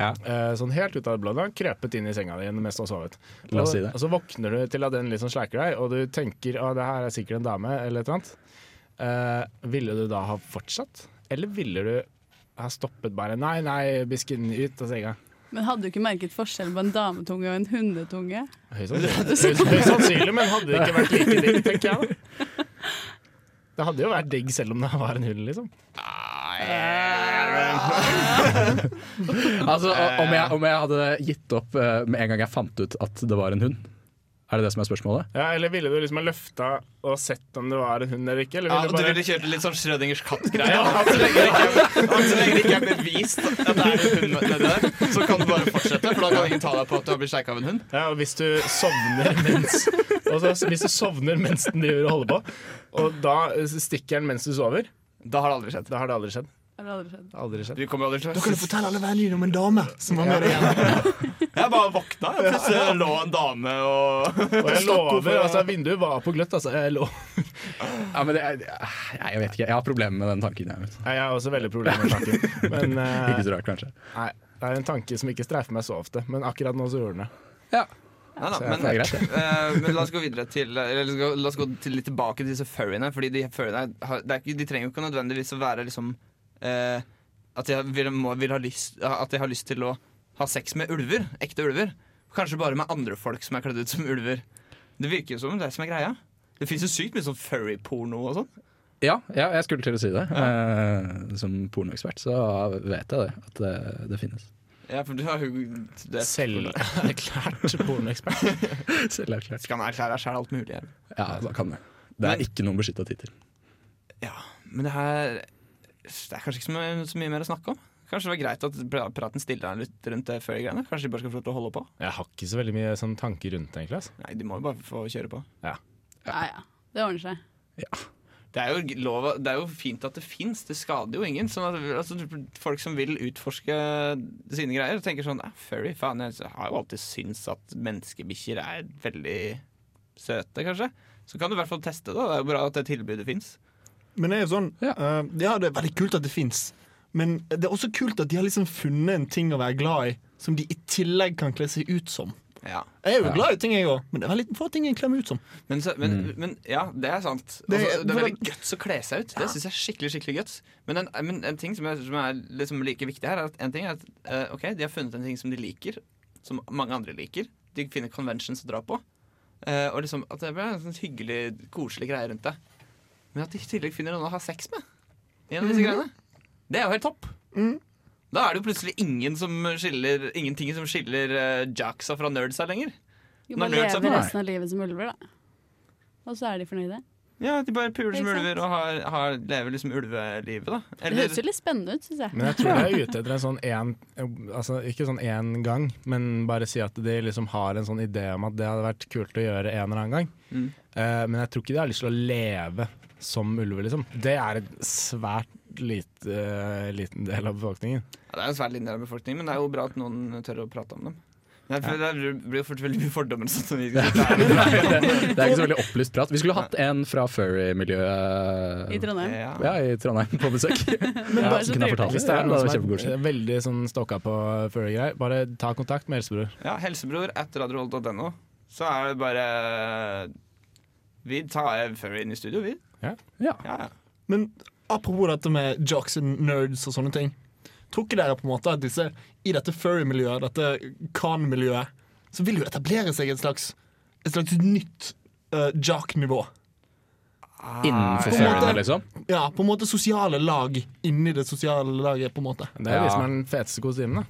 D: Ja.
C: eh, sånn helt ut av det blå, da, krøpet inn i senga di mens du har sovet.
D: La oss si
C: Og-
D: det.
C: Og så våkner du til at den liksom sleiker deg, og du tenker at det her er sikkert en dame, eller et eller annet. Eh, ville du da ha fortsatt, eller ville du ha stoppet bare Nei, nei, bisken, ut av senga.
E: Men hadde du ikke merket forskjell på en dametunge og en hundetunge?
C: Høyst sannsynlig, Høyst sannsynlig, men hadde det ikke vært like digg, tenker jeg da. Det hadde jo vært digg selv om det var en hund, liksom.
D: Altså, o- om jeg, om jeg hadde gitt opp eh, med en gang jeg fant ut at det var en hund? Er det det som er spørsmålet?
C: Ja, eller ville du liksom ha løfta og sett om det var en hund eller ikke? Eller
B: ja,
C: ville
B: Du
C: du bare
B: ville kjørt litt sånn Schrødingers katt-greie. At så lenge det ikke er- at så lenge det ikke er bevist at det er en hund nedi der, så kan du bare fortsette. For da kan ingen ta deg på at du har blitt sjeika av en hund.
C: Ja, og hvis du sovner mens og så, Hvis du sovner mens den driver og holder på, og da stikker den mens du sover,
B: Da har det aldri skjedd.
C: da har det aldri skjedd.
E: Har det aldri skjedd?
C: Aldri skjedd.
B: Du kommer jo aldri til å
F: Da kan du fortelle alle vennene dine om en dame som var med deg igjen.
B: Jeg bare våkna, og plutselig lå en dame og
C: Og jeg lover, altså, vinduet var på gløtt, altså. Jeg, lo.
D: Ja, men det, er- nei, jeg vet ikke. Jeg har problemer med den tanken. Jeg vet.
C: Nei, jeg har også veldig problemer med tanken. Men eh,
D: Ikke så rart, kanskje.
C: nei, det er en tanke som ikke streifer meg så ofte, men akkurat nå så gjorde den det.
D: Ja,
B: Nei da,
D: så
B: men,
D: det er greit, det.
B: eh, men la oss gå videre til eller, la oss gå- La oss gå til, litt tilbake til disse furryene. Fordi de furryene har, det er ikke, De trenger jo ikke nødvendigvis å være liksom eh, At de har- vil, må, vil ha lyst At de har lyst til å ha sex med ulver. Ekte ulver. Kanskje bare med andre folk som er kledd ut som ulver. Det virker jo som det er som er greia. Det fins jo sykt mye sånn furry-porno og sånn.
D: Ja, ja, jeg skulle til å si det. Eh, som pornoekspert så vet jeg det, at det, det finnes.
B: Ja, for du har jo det-
C: Selverklært pornoekspert.
D: Selv erklært.
B: Skal man erklære deg sjæl alt mulig her?
D: Ja, man kan det. Det er
B: Men-
D: ikke noen beskytta tittel.
B: Ja, men det her Det er kanskje ikke så mye, så mye mer å snakke om. Kanskje det var greit at pra- praten stiller deg litt rundt det furry-greiene? Kanskje de bare skal få lov til å holde på?
C: Jeg har ikke så veldig mye sånn tanker rundt det, egentlig. Altså.
B: Nei, de må jo bare få kjøre på.
E: Ja ja, det ordner seg.
B: Det er jo, lov, det er jo fint at det fins, det skader jo ingen. Sånn at, altså, folk som vil utforske sine greier, tenker sånn "Nei, Furry, faen, jeg har jo alltid syntes at menneskebikkjer er veldig søte, kanskje. Så kan du i hvert fall teste det. da. Det er jo bra at det tilbudet fins.
F: Men det er jo sånn
D: Ja.
F: ja. ja, det er veldig kult at det fins. Men det er også kult at de har liksom funnet en ting å være glad i som de i tillegg kan kle seg ut som.
B: Ja.
F: Jeg er jo
D: Ja.
F: glad i ting, jeg òg, men det er veldig få ting jeg kler meg ut som.
B: Men, så, men, men ja, det er sant. Også,
F: Det-
B: det, er
F: for
B: veldig guts å kle seg ut. Det syns jeg er skikkelig skikkelig guts. Men en, men en ting som er, som er liksom like viktig her, er at en ting er at eh, ok, de har funnet en ting som de liker, som mange andre liker. De finner conventions å dra på. Eh, og liksom at det blir en sånn hyggelig, koselig greie rundt det. Men at de i tillegg finner noen å ha sex med, i en av disse greiene, det er jo helt topp. Da er det jo plutselig ingen som skiller, ingenting som skiller eh, jacksa fra nerdsa lenger.
E: Jo, man
B: Når nerds er
E: lever
D: fornøyd.
E: resten av livet som ulver, da. Og så er de fornøyde.
B: Ja, de bare puler som
E: Ikke sant?
B: ulver og har, har, lever liksom ulvelivet, da.
E: Det høres jo litt spennende ut, syns jeg.
C: Men jeg tror de er ute etter en sånn en, altså Ikke sånn én gang, men bare si at de liksom har en sånn idé om at det hadde vært kult å gjøre en eller annen gang.
B: Mm.
C: Eh, men jeg tror ikke de har lyst til å leve som ulver, liksom. Det er en svært lite, eh, liten del av befolkningen.
B: Ja, det er en svært liten del av befolkningen, men det er jo bra at noen tør å prate om dem. Jeg føler Det blir jo fort veldig mye fordommer. og Sånt, som vi
D: Det er ikke så veldig opplyst prat. Vi skulle hatt en fra furry-miljøet eh,
E: I Trondheim.
B: ja.
D: ja, i Trondheim på besøk.
E: Men
D: Ja,
E: bare
D: så
E: så
D: kunne
E: trivelig.
D: jeg fortalt det.
C: Hvis det
D: Ja,
C: er
D: det
C: noen
D: var
C: som
D: kjempekoselig.
C: er veldig sånn stokka på furry-greier, bare ta kontakt med helsebror.
B: ja, helsebror etter radiovolt.no. Så er det bare Vi tar Furry inn i studio, vi.
D: Ja.
B: Ja, ja.
F: Men apropos dette med jocks and nerds og sånne ting. Tror ikke dere på en måte at disse i dette furry-miljøet, dette kan-miljøet, så vil jo etablere seg et slags, et slags nytt uh, jock-nivå?
D: Innenfor
B: Ah,
F: På en måte.
D: furryene, liksom.
F: Ja, på en måte sosiale lag inni det sosiale laget, på en måte.
C: Det er
D: Ja.
C: de som er den feteste kostymen, da.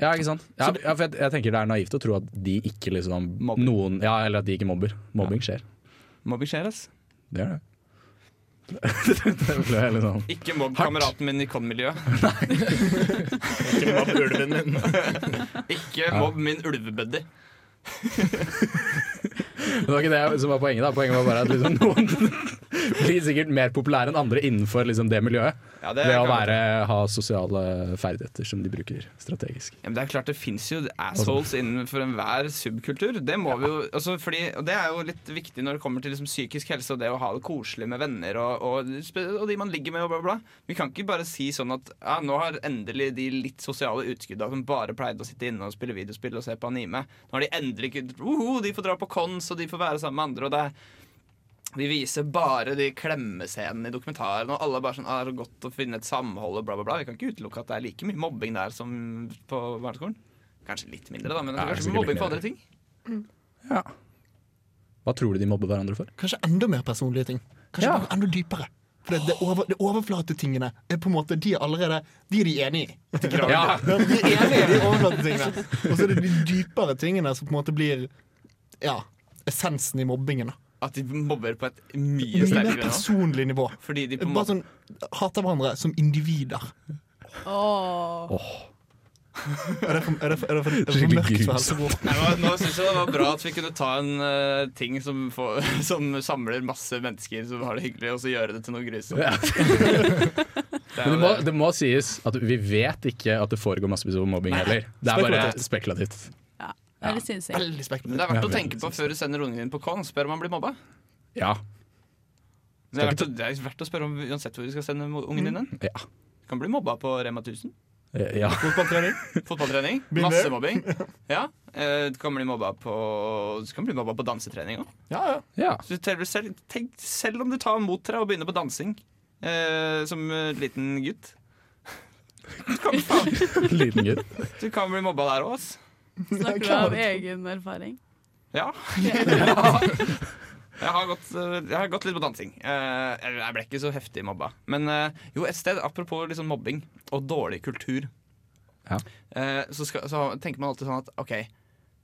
D: Ja, ikke sant? Ja, ja, for jeg, jeg tenker det er naivt å tro at de ikke liksom
B: Mobber.
D: noen, ja, Eller at de ikke mobber. Mobbing skjer.
B: Mobbing skjer, ass.
D: Det gjør det. det ble jeg litt sånn
B: Ikke mobb
D: Hardt.
B: kameraten min i kan-miljøet.
C: Ikke mobb ulven min.
B: Ikke mobb min ulvebuddy.
D: Det var ikke det som var poenget. da Poenget var bare at liksom noen blir sikkert mer populære enn andre innenfor liksom det miljøet.
B: Ja, det,
D: Ved å
B: kan-
D: være, ha sosiale ferdigheter som de bruker strategisk.
B: Ja, men det er klart det fins jo assholes innenfor enhver subkultur. Det må vi jo, altså fordi, og det er jo litt viktig når det kommer til liksom psykisk helse og det å ha det koselig med venner og, og, spe- og de man ligger med og bla, bla. bla. Vi kan ikke bare si sånn at ja, nå har endelig de litt sosiale utskudda som bare pleide å sitte inne og spille videospill og se på anime, nå har de endelig kunnet woho, De får dra på cons, og de får være sammen med andre, og det er vi viser bare de klemmescenene i dokumentaren, og alle er bare sånn ah, det er godt å finne et samhold og bla, bla, bla. Vi kan ikke utelukke at det er like mye mobbing der som på barneskolen. Kanskje litt mindre, da, men
D: Ja,
B: kanskje
D: sikkert
B: mobbing
D: litt
B: på
D: mindre.
B: andre ting.
D: Hva tror du de mobber hverandre for?
F: Kanskje enda mer personlige ting. Kanskje
D: Ja.
F: bare enda dypere. For det, det, over, det overflatetingene er på en måte De er allerede De er de enige i.
D: Ja,
F: De er enige i de overflatetingene. Og så er det de dypere tingene som på en måte blir Ja, essensen i mobbingen. da.
B: At de mobber på et mye
F: Mye mer
B: sterkere nivå.
F: personlig nivå.
B: Fordi de på en
F: Bare
B: måte
F: sånn hater hverandre som individer.
E: Åh.
F: Er det for, er det for, er det for, er det for
D: Skikkelig
F: mørkt for
D: grusomt.
F: helsebror?
B: Nei, men Nå syns jeg det var bra at vi kunne ta en eh, ting som, får, som samler masse mennesker som har det hyggelig, og så gjøre det til noe grusomt.
D: Ja.
B: Det er
D: Men det
B: jo
D: må,
B: det.
D: det må sies at vi vet ikke at det foregår massevis av mobbing heller. Det er bare spekulativt.
E: Ja, det er litt synsing.
F: Veldig
B: Men
F: spektakulært.
B: det er verdt å tenke på før du sender ungen din på con. Spør om han blir mobba.
D: Ja.
B: Det er, verdt å, det er verdt å spørre om uansett hvor du skal sende mo- ungen din. hen.
D: Ja.
B: Kan bli mobba på Rema 1000.
D: ja.
F: Fotballtrening.
B: Fotballtrening.
F: Begynner.
B: Masse mobbing. Ja. eh, Du kan bli mobba på, du kan bli mobba på dansetrening òg.
F: Ja, ja.
D: ja.
B: Selv, tenk, selv om du tar mot deg og begynner på dansing eh, som eh, liten gutt. Du kan, faen,
D: Liten gutt.
B: du kan bli mobba der òg, ass.
E: Snakker du av egen erfaring?
B: Ja. Jeg har, gått, eh, jeg har gått litt på dansing. Eh, Jeg ble ikke så heftig mobba. Men eh, jo, et sted, apropos liksom mobbing og dårlig kultur,
D: Ja.
B: eh, så, skal, så tenker man alltid sånn at OK,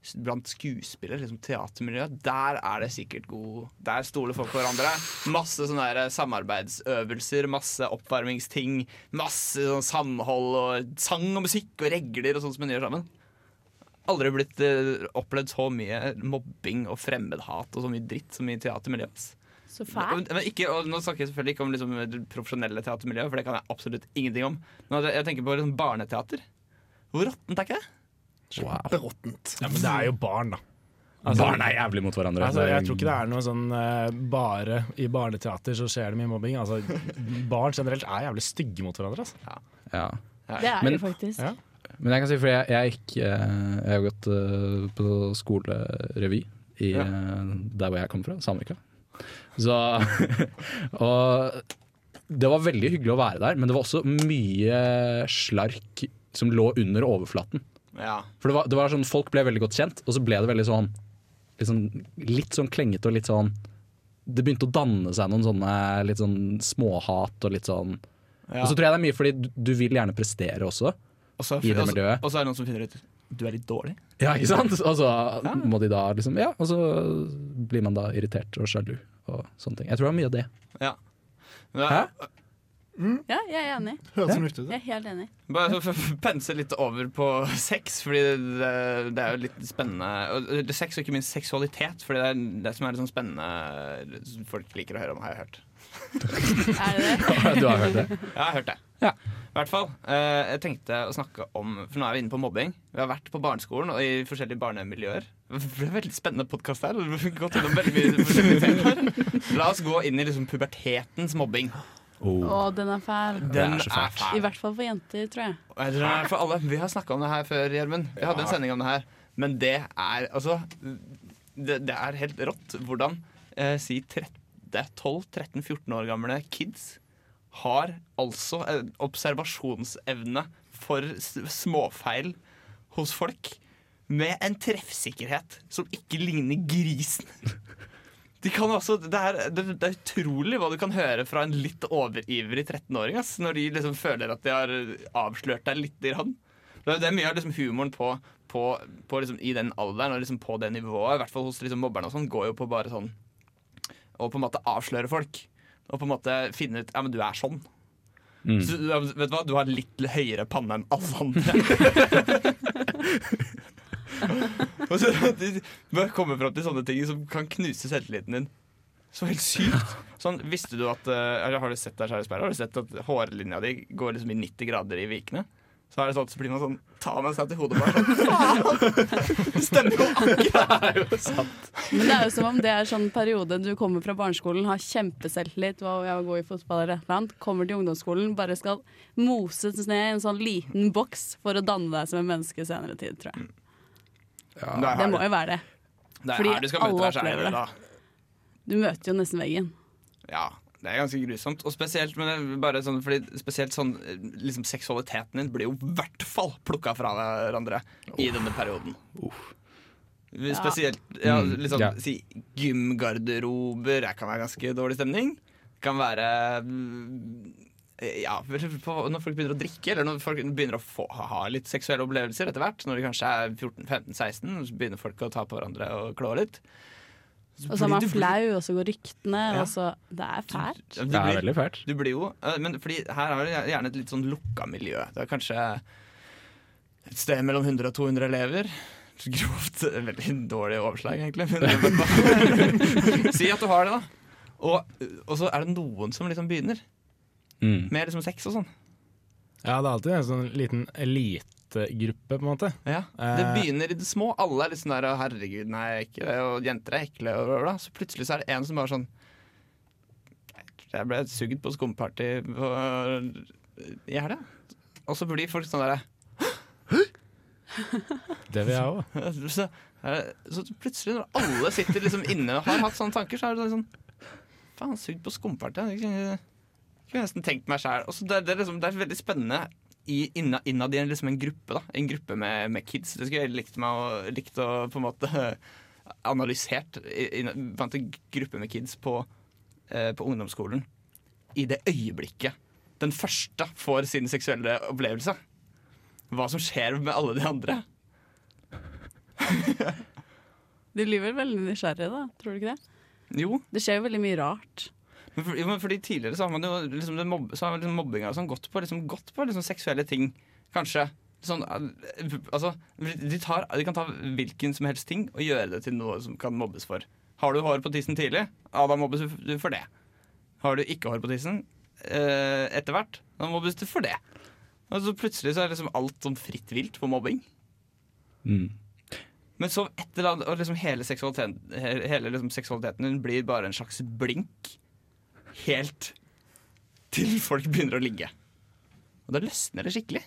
B: s- blant skuespillere, liksom teatermiljøet, der er det sikkert god Der stoler folk på hverandre. Masse sånne der eh, samarbeidsøvelser, masse oppvarmingsting, masse sånn samhold og sang og musikk og regler og sånt som en gjør sammen. Aldri blitt eh, opplevd så mye mobbing og fremmedhat og så mye dritt som i teatermiljøet. ass.
E: Så
B: Men,
E: fælt.
B: men ikke, og nå snakker jeg selvfølgelig ikke om liksom, det profesjonelle teatermiljøet, for det kan jeg absolutt ingenting om. Men at jeg- jeg tenker på liksom, barneteater. Hvor råttent er ikke det?
D: Wow.
F: Beråttent.
C: Ja, men det er jo barn, da.
D: Barn er jævlig mot hverandre.
C: Altså, jeg tror ikke det er noe sånn eh, bare i barneteater så skjer det mye mobbing. Altså, barn generelt er jævlig stygge mot hverandre. Altså.
D: Ja.
E: Det er
D: Men-
E: det faktisk.
C: Ja.
D: Men jeg kan si, for jeg, jeg gikk eh, Jeg har gått eh, på skolerevy i,
B: Ja.
D: eh, der hvor jeg kom fra, Samvika. Så Og det var veldig hyggelig å være der, men det var også mye slark som lå under overflaten.
B: Ja.
D: For det var, det var sånn, folk ble veldig godt kjent, og så ble det veldig sånn Litt sånn, litt sånn klengete og litt sånn Det begynte å danne seg noen sånne litt sånn småhat og litt sånn Og så tror jeg det er mye fordi du, du vil gjerne prestere også.
B: Og så,
D: I det
B: og så-
D: miljøet.
B: Og så er det noen som finner ut
F: du er litt dårlig.
D: Ja, ikke sant? Og så må de da liksom Ja, og så blir man da irritert og sjalu og sånne ting. Jeg tror det er mye av det.
B: Ja. Ja,
D: Hæ?
E: Ja, jeg er enig.
F: Høres fornuftig ut.
E: Jeg er helt enig.
B: Bare for å pense litt over på sex, fordi det, det er jo litt spennende. Og Sex og ikke minst seksualitet, fordi det er det som er litt sånn spennende folk liker å høre om, har jeg hørt.
E: Er det det?
D: Du har hørt det.
B: Ja, jeg har hørt det.
D: Ja.
B: I hvert fall. eh, jeg tenkte å snakke om For nå er vi inne på mobbing. Vi har vært på barneskolen og i forskjellige barnemiljøer. Det ble en veldig spennende podkast her. Vi har gått gjennom veldig mye forskjellige temaer. La oss gå inn i liksom pubertetens mobbing.
E: Å, den er fæl.
B: Den
D: er så fælt.
E: I hvert fall for jenter, tror jeg.
B: Og jeg tror det er for alle. Vi har snakka om det her før, Gjermund. Vi hadde en sending om det her. Men det er altså Det, det er helt rått hvordan eh, si 13, det er 12-13-14 år gamle kids har altså en observasjonsevne for s- småfeil hos folk med en treffsikkerhet som ikke ligner grisen. De kan altså, det, er, det, det er utrolig hva du kan høre fra en litt overivrig 13-åring ass, når de liksom føler at de har avslørt deg litt. Grann. Det er- det er mye av liksom humoren på, på, på liksom i den alderen og liksom på det nivået, i hvert fall hos liksom mobberne, og sånn, går jo på bare sånn å på en måte avsløre folk. Og på en måte finne ut Ja, men du er sånn. Så, ja, men vet du hva, du har litt høyere panne enn alle andre. og så de bare kommer fram til sånne ting som kan knuse selvtilliten din. Så helt sykt. Sånn, visste du at eh, eller Har du sett deg selv i speilet? Har du sett at hårlinja di går liksom i 90 grader i vikene? Så er det sånn, så blir man sånn Ta med seg til hodet bare sånn Faen! Det stemmer jo
E: Men det er jo som om det er sånn periode du kommer fra barneskolen, har kjempeselvtillit, wow, jeg var god i fotball eller et eller annet, kommer til ungdomsskolen, bare skal moses ned i en sånn liten boks for å danne deg som en menneske i senere tid, tror jeg. Det må jo være det.
B: Det er
E: Fordi
B: her du skal møte
E: alle
B: deg selv,
E: opplever det.
B: da.
E: Du møter jo nesten veggen.
B: Ja, det er ganske grusomt. Og spesielt, men det er bare sånn, fordi spesielt sånn eh, liksom seksualiteten din blir jo i hvert fall plukka fra hverandre i denne perioden. Spesielt ja,
D: Mm,
B: liksom,
D: ja.
B: si, gymgarderober det kan være ganske dårlig stemning. Det kan være mm, ja, vel, på, når folk begynner å drikke, eller når folk begynner å få, ha litt seksuelle opplevelser etter hvert, når de kanskje er 14-15-16, så begynner folk å ta på hverandre og klå litt.
E: Og så er man
B: blir-
E: flau, og så går ryktene,
B: Ja.
E: og så Det er fælt.
B: Du
D: Det er
B: blir-
D: veldig fælt.
B: du blir jo eh, Men fordi her er det gjerne et litt sånn lukka miljø. Det er kanskje et sted mellom 100 og 200 elever. Grovt eh, Veldig dårlig overslag, egentlig. men- si at du har det, da. Og, og så er det noen som liksom begynner
D: Mm.
B: med liksom sex og sånn.
C: Ja, det er alltid en sånn liten elitegruppe, på en måte.
B: Ja, Det
C: Eh.
B: begynner i det små. Alle er litt sånn der 'Å, 'herregud, nei, jeg er ikke det', og 'jenter er ekle', og bla, bla. Så plutselig så er det en som bare sånn Jeg ble sugd på skumparty på, i helga. Og så blir folk sånn derre
C: Det vil jeg òg.
B: så, er det- så plutselig, når alle sitter liksom inne og har hatt sånne tanker, så er det sånn Faen, sugd på skumparty. Jeg kunne kunne nesten tenkt meg sjæl. Det, er- det, er liksom, det er veldig spennende i- inna- innad i en, liksom en gruppe. da En gruppe med, med kids. Det skulle jeg likt meg å, likt å på en måte analysert i- inn- blant en gruppe med kids på, eh, på ungdomsskolen. I det øyeblikket den første får sin seksuelle opplevelse. Hva som skjer med alle de andre.
E: Du blir vel veldig nysgjerrig, da, tror du ikke det?
B: Jo,
E: Det skjer jo veldig mye rart.
B: Men, for, jo, men fordi tidligere så har man jo liksom, det mobb, så har liksom mobbinga og sånn gått på, liksom, gått på liksom, seksuelle ting, kanskje. Sånn, eh, altså, de, tar, de kan ta hvilken som helst ting og gjøre det til noe som kan mobbes for. Har du hår på tissen tidlig, ja, da mobbes du for det. Har du ikke hår på tissen eh, etter hvert, da mobbes du for det. Og så plutselig så er liksom alt sånn fritt vilt på mobbing.
D: Mm.
B: Men så et eller annet, og liksom hele seksualiteten, he- hele liksom seksualiteten din blir bare en slags blink. Helt til folk begynner å ligge. Og da løsner det skikkelig.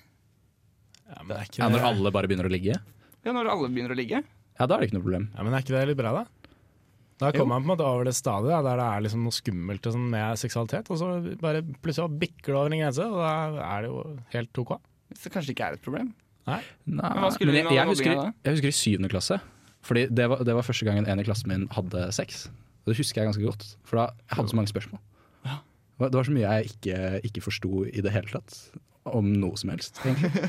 C: Ja, men er ikke
D: Ja,
C: det-
D: når alle bare begynner å ligge?
B: Ja, Når alle begynner å ligge.
D: Ja, da er det ikke noe problem.
C: Ja, men er ikke det litt bra, da? Da
B: Jo.
C: kommer man på en måte over det stadiet da, der det er liksom noe skummelt og sånn med seksualitet, og så bare plutselig bare bikker det over en grense, og da er det jo helt OK.
B: Så kanskje det ikke er et problem.
D: Nei,
B: Men hva skulle
D: men jeg,
B: vi med
D: jeg,
B: all
D: husker,
B: mobbingen da?
D: jeg husker i syvende klasse. Fordi det var, det var første gangen en i klassen min hadde sex. Og Det husker jeg ganske godt, for da jeg hadde så mange spørsmål. Det var- det var så mye jeg ikke, ikke forsto i det hele tatt. Om noe som helst, egentlig.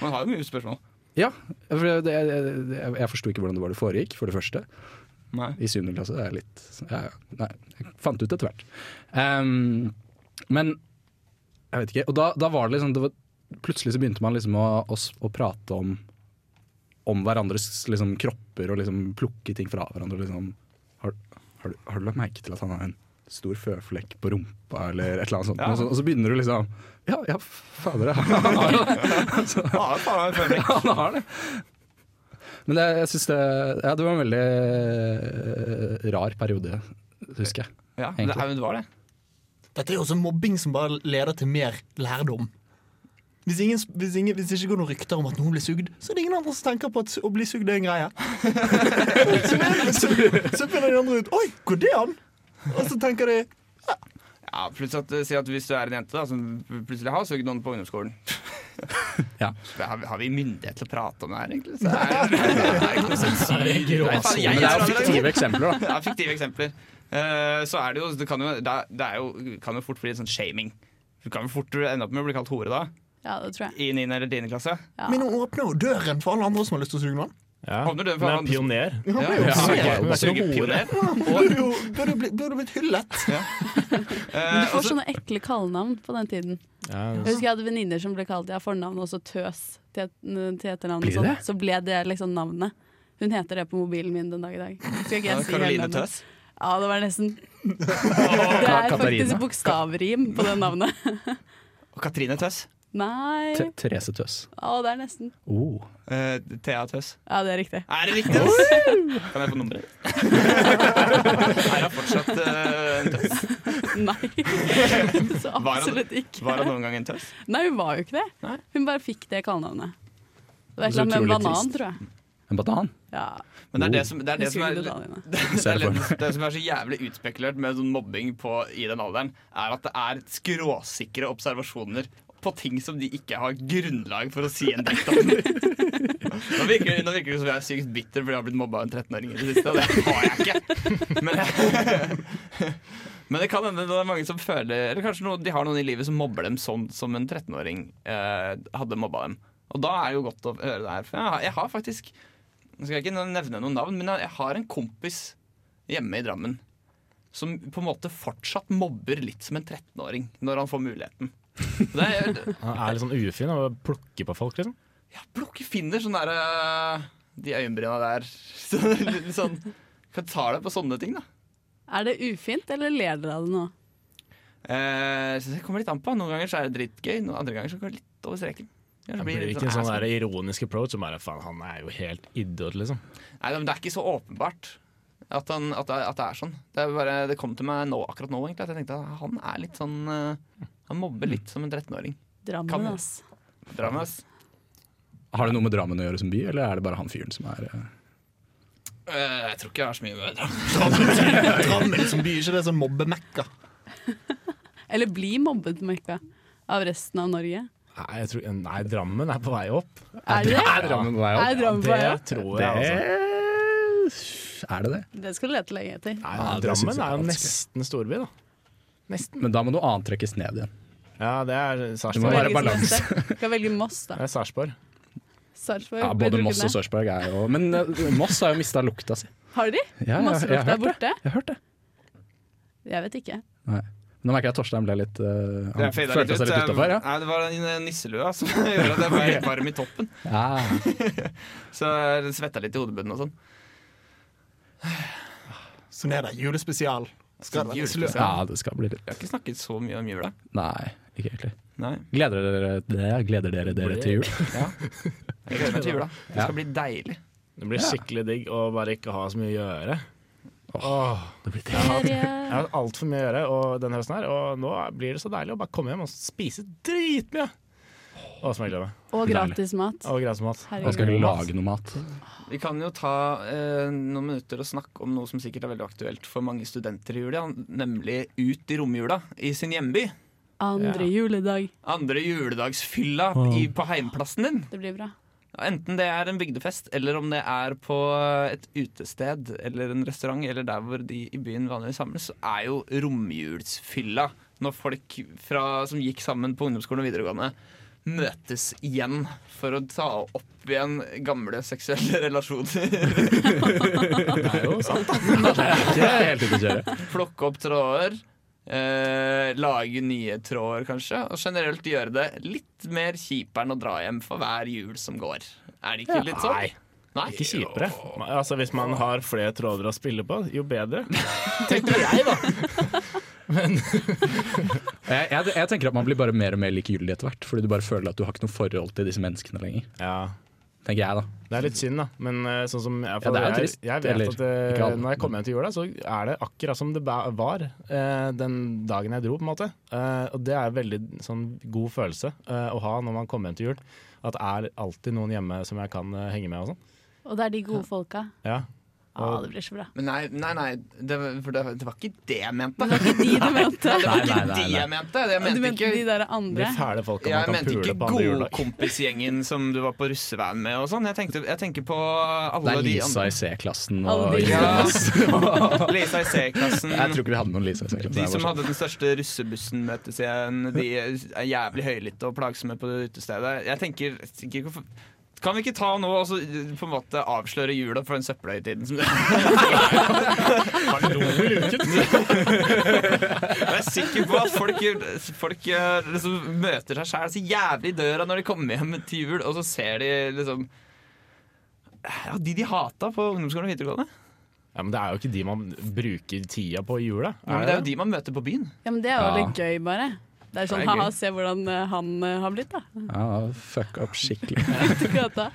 B: Man har jo mye spørsmål.
D: Ja, for det, det, det- jeg, jeg forsto ikke hvordan det var det foregikk, for det første.
B: Nei.
D: I 7. klasse det er litt ja, ja. Nei, jeg fant ut etter hvert. Ehm, men jeg vet ikke. Og da, da var det liksom det var, Plutselig så begynte man liksom å, å, s- å prate om Om hverandres liksom, kropper og liksom plukke ting fra hverandre. og Liksom. Har, har, du- har du lagt merke til at han har en stor føflekk på rumpa, eller et eller annet sånt?
B: Ja.
D: Og, så, og så begynner du liksom Ja, ja, fader, han har jo
B: Ah, faen, jeg føler meg-
D: ja, han har det. Men det, jeg synes det, ja, det var en veldig eh, rar periode, husker jeg.
B: ja, det, er- det var det.
F: Dette er jo også mobbing som bare leder til mer lærdom. Hvis, ingen, hvis, ingen, hvis det ikke går noen rykter om at noen blir sugd, så er det ingen andre som tenker på at å bli sugd er en greie. så, så, så finner de andre ut Oi, går det an? Og så tenker de
B: Ja, plutselig at, Si at hvis du er en jente da som plutselig har sugd noen på ungdomsskolen
D: Ja.
B: Så har, vi- har vi myndighet til å prate om det her, egentlig? Så er, det er ikke noe sensur. Nei, faen, jeg-
D: Men det er jo
B: jeg-
D: fiktive eksempler, da.
B: Ja, fiktive eksempler. Eh, så er det jo Det kan jo, det er, det er jo, kan jo fort bli sånn shaming. Du kan jo fort ende opp med å bli kalt hore da
E: Ja, det tror jeg.
B: i 9. eller 10. klasse.
E: Ja.
F: Men hun åpner jo døren for alle andre som har lyst til å suge noen.
C: Ja.
B: Havner du for
C: Men
B: han-
C: pioner.
B: Ja,
D: Ja,
B: så-
D: ok,
B: og
C: men så
B: sugepioner.
F: Burde jo burde jo bli- burde jo blitt hyllet.
E: Men
B: Eh,
E: du
B: og
E: får
B: så-
E: sånne ekle kallenavn på den tiden.
C: Ja,
E: Jeg husker jeg hadde venninner som ble kalt ja, fornavn og så tøs til, et- til etternavn.
D: Blir
E: Og
D: det
E: sånn.
D: det?
E: Så ble det liksom navnet. Hun heter det på mobilen min den dag i dag. Skal ikke jeg si hele
B: Caroline
E: navnet?
B: Tøs.
E: Ja, det var nesten Det er
D: Katarina.
E: faktisk bokstavrim på det navnet.
B: Og Katrine Tøs.
E: Nei
D: T- Therese Tøs.
E: Å, det er nesten.
D: Oh.
B: Eh, Thea Tøs.
E: Ja, det er riktig.
B: Er det riktig? ass? Kan jeg få nummeret? Er hun fortsatt eh, en tøs?
E: Nei. Så
B: Var han-
E: absolutt ikke.
B: Var hun noen gang en tøs?
E: Nei, hun var jo ikke det.
B: Nei.
E: Hun bare fikk det kallenavnet. Det var et eller
D: Så
E: annet med en
D: utrolig
E: banan,
D: trist.
E: tror jeg.
D: En banan?
E: Ja,
B: Men det er det som, det er, det som
E: husker
B: er
E: ikke detaljene.
B: det,
D: Ser
B: er
D: det for
B: litt- det som er så jævlig utspekulert med sånn mobbing på, i den alderen, er at det er skråsikre observasjoner på ting som de ikke har grunnlag for å si en dritt om. Nå virker, nå virker det som jeg er sykt bitter fordi jeg har blitt mobba av en 13-åring i det siste, og det har jeg ikke. Men, men det kan hende det er mange som føler Eller kanskje noen, de har noen i livet som mobber dem sånn som en 13-åring eh, hadde mobba dem. Og da er det jo godt å høre det her. For jeg har, jeg har faktisk nå skal jeg ikke nevne noen navn, men jeg har en kompis hjemme i Drammen som på en måte fortsatt mobber litt som en 13-åring når han får muligheten. Det er,
C: Han er litt sånn ufin og plukker på folk, liksom.
B: ja, plukke finner sånn derre De øyenbryna der. Så, litt sånn Hva tar deg på sånne ting, da?
E: Er det ufint, eller ler dere av det nå?
B: Eh, så det kommer litt an på. Noen ganger så er det dritgøy, noen andre ganger så går det litt over streken. Kanskje
C: Det
B: blir
C: blir
B: litt
C: ikke en sånn
B: asshole.
C: der ironisk approach som bare faen, han er jo helt idiot, liksom.
B: Nei, men Det er ikke så åpenbart at, han, at, det, at det er sånn. Det, er bare, det kom til meg nå, akkurat nå. egentlig At jeg tenkte at Han er litt sånn eh, Han mobber litt som en 13-åring. Kan-
E: Drammen, ass.
B: Drammen, ass.
D: Har det noe med Drammen å gjøre som by, eller er det bare han fyren som er eh?
B: Eh, jeg tror ikke jeg har så mye med Drammen.
F: Drammen som by, ikke det som mobbemekka.
E: Eller bli mobbet, merka. Av resten av Norge.
C: Nei, jeg tror, nei, Drammen er på vei opp.
E: Er det det?
D: Drammen på vei
E: Er Drammen på
C: Det
E: vei opp?
C: tror
D: Det
C: jeg, altså.
D: er det det.
E: Det skal du lete lenge etter.
C: Nei,
D: Ja, det synes
C: Drammen
D: jeg
C: er jo
D: er
C: nesten storby, da. Nesten.
D: Men da må noe annet trekkes ned igjen.
C: Ja, det er
D: Det må
C: Sarpsborg.
D: være
E: Velges
D: balanse.
E: neste. Skal velge Moss, da.
C: Det er Sarpsborg.
E: Sarpsborg.
D: Ja,
E: blir
D: både
E: trukket
D: Moss og
E: ned.
D: Sarpsborg er jo Men eh, Moss har jo mista lukta si.
E: Har de?
D: Ja, ja,
E: Moss
D: jeg
E: lukta
D: har
E: er
D: hørt det.
E: borte?
D: Jeg har hørt det.
E: Jeg vet ikke.
D: Nei. Nå merker jeg at Torstein ble litt eh, Han
B: Jeg fadet
D: følte seg
B: ut.
D: litt
B: um,
D: utafor. Ja.
B: Nei, det var den nisselua som gjorde at jeg ble helt varm i toppen.
D: Ja.
B: Så jeg svetta litt i hodebunnen og sånn.
F: Så ned der. Julespesial. Skal det være
B: Julespesial.
D: ja, det skal bli litt
B: Jeg har ikke snakket så mye om jula.
D: Nei, ikke egentlig.
B: Nei.
D: Gleder dere dere, gleder dere, dere til jul?
B: Jeg gleder meg til jula. Det
D: Ja.
B: skal bli deilig.
C: Det blir skikkelig digg å bare ikke ha så mye å gjøre.
D: Det blir
C: Jeg har- jeg
E: Ferie.
C: har altfor mye å gjøre og denne høsten her, og nå blir det så deilig å bare komme hjem og spise dritmye. Å, som jeg gleder meg.
E: Og gratis mat.
C: Og gressmat.
D: Man skal
E: Herregud.
D: ikke lage noe mat.
B: Vi kan jo ta eh, noen minutter og snakke om noe som sikkert er veldig aktuelt for mange studenter i jula, nemlig Ut i romjula i sin hjemby.
E: Andre juledag.
B: Andre juledagsfylla i, på heimplassen din.
E: Det blir bra.
B: Enten det er en bygdefest, eller om det er på et utested eller en restaurant, eller der hvor de i byen vanligvis samles, så er jo romjulsfylla når folk fra, som gikk sammen på ungdomsskolen og videregående, møtes igjen for å ta opp opp igjen gamle seksuelle relasjoner.
C: Det er jo sant.
D: Det er helt ute å kjøre.
B: Plukke opp tråder. Eh, lage nye tråder, kanskje. Og generelt gjøre det litt mer kjipere enn å dra hjem for hver jul som går. Er det ikke litt sånn?
C: Nei.
B: Nei.
C: Ikke kjipere. Altså, hvis man har flere tråder å spille på, jo bedre.
D: Jeg, jeg, jeg tenker at man blir bare mer og mer likegyldig etter hvert, fordi du bare føler at du har ikke noe forhold til disse menneskene lenger.
C: Ja.
D: Tenker jeg, da.
C: Det er litt synd, da. Men eh, sånn som jeg,
D: Ja, det er jo
C: jeg,
D: trist,
C: jeg vet
D: eller-
C: at eh,
D: ikke alle.
C: når jeg kommer hjem til jula, så er det akkurat som det ba- var eh, den dagen jeg dro, på en måte. Eh, og det er veldig sånn god følelse eh, å ha når man kommer hjem til jul. At det er alltid noen hjemme som jeg kan eh, henge med og sånn.
E: Og det er de gode folka.
C: Ja.
E: Ja, det blir så bra.
B: Men nei, nei, nei det, var- for det, det var ikke det jeg mente.
E: Det var ikke de du mente.
B: Det var ikke
D: Nei, nei, nei,
B: de jeg mente. Jeg
E: Du
B: mente
E: mente de
B: ikke
E: der
C: De
E: andre.
C: fæle folka
B: jeg
C: man kan
B: mente
C: pule
B: ikke
C: på andre juledag.
B: godkompisgjengen som du var på russeveien med. og sånn Jeg, tenkte, jeg tenker på
D: Det
B: alle de
D: er Lisa
B: andre.
D: i C-klassen
E: Alle
D: og
E: de-
B: Lisa i C-klassen.
D: Jeg tror ikke vi hadde noen Lisa i C-klassen.
B: De
D: Jeg
B: som
D: var
B: hadde den største russebussen møtes igjen. De er jævlig høylytte og plagsomme på det utestedet. Jeg tenker, jeg tenker hvorfor- Kan vi ikke ta nå og så, eh, på en måte avsløre jula for den søppelhøytiden som det Jeg er sikker på at folk, folk eh, liksom, møter seg sjæl så jævlig i døra når de kommer hjem til jul, og så ser de liksom ja, De de hata på ungdomsskolen og videregående.
C: Ja, men det er jo ikke de man bruker tida på i jula.
B: Ja, men det er jo de man møter på byen.
E: Ja, men det er jo
D: Ja.
E: litt gøy, bare. Det er sånn
B: Det er gøy.
E: ha-ha, se hvordan eh, han eh, har blitt, da.
D: sånn. Ja, fuck up skikkelig.
E: Ute i gata.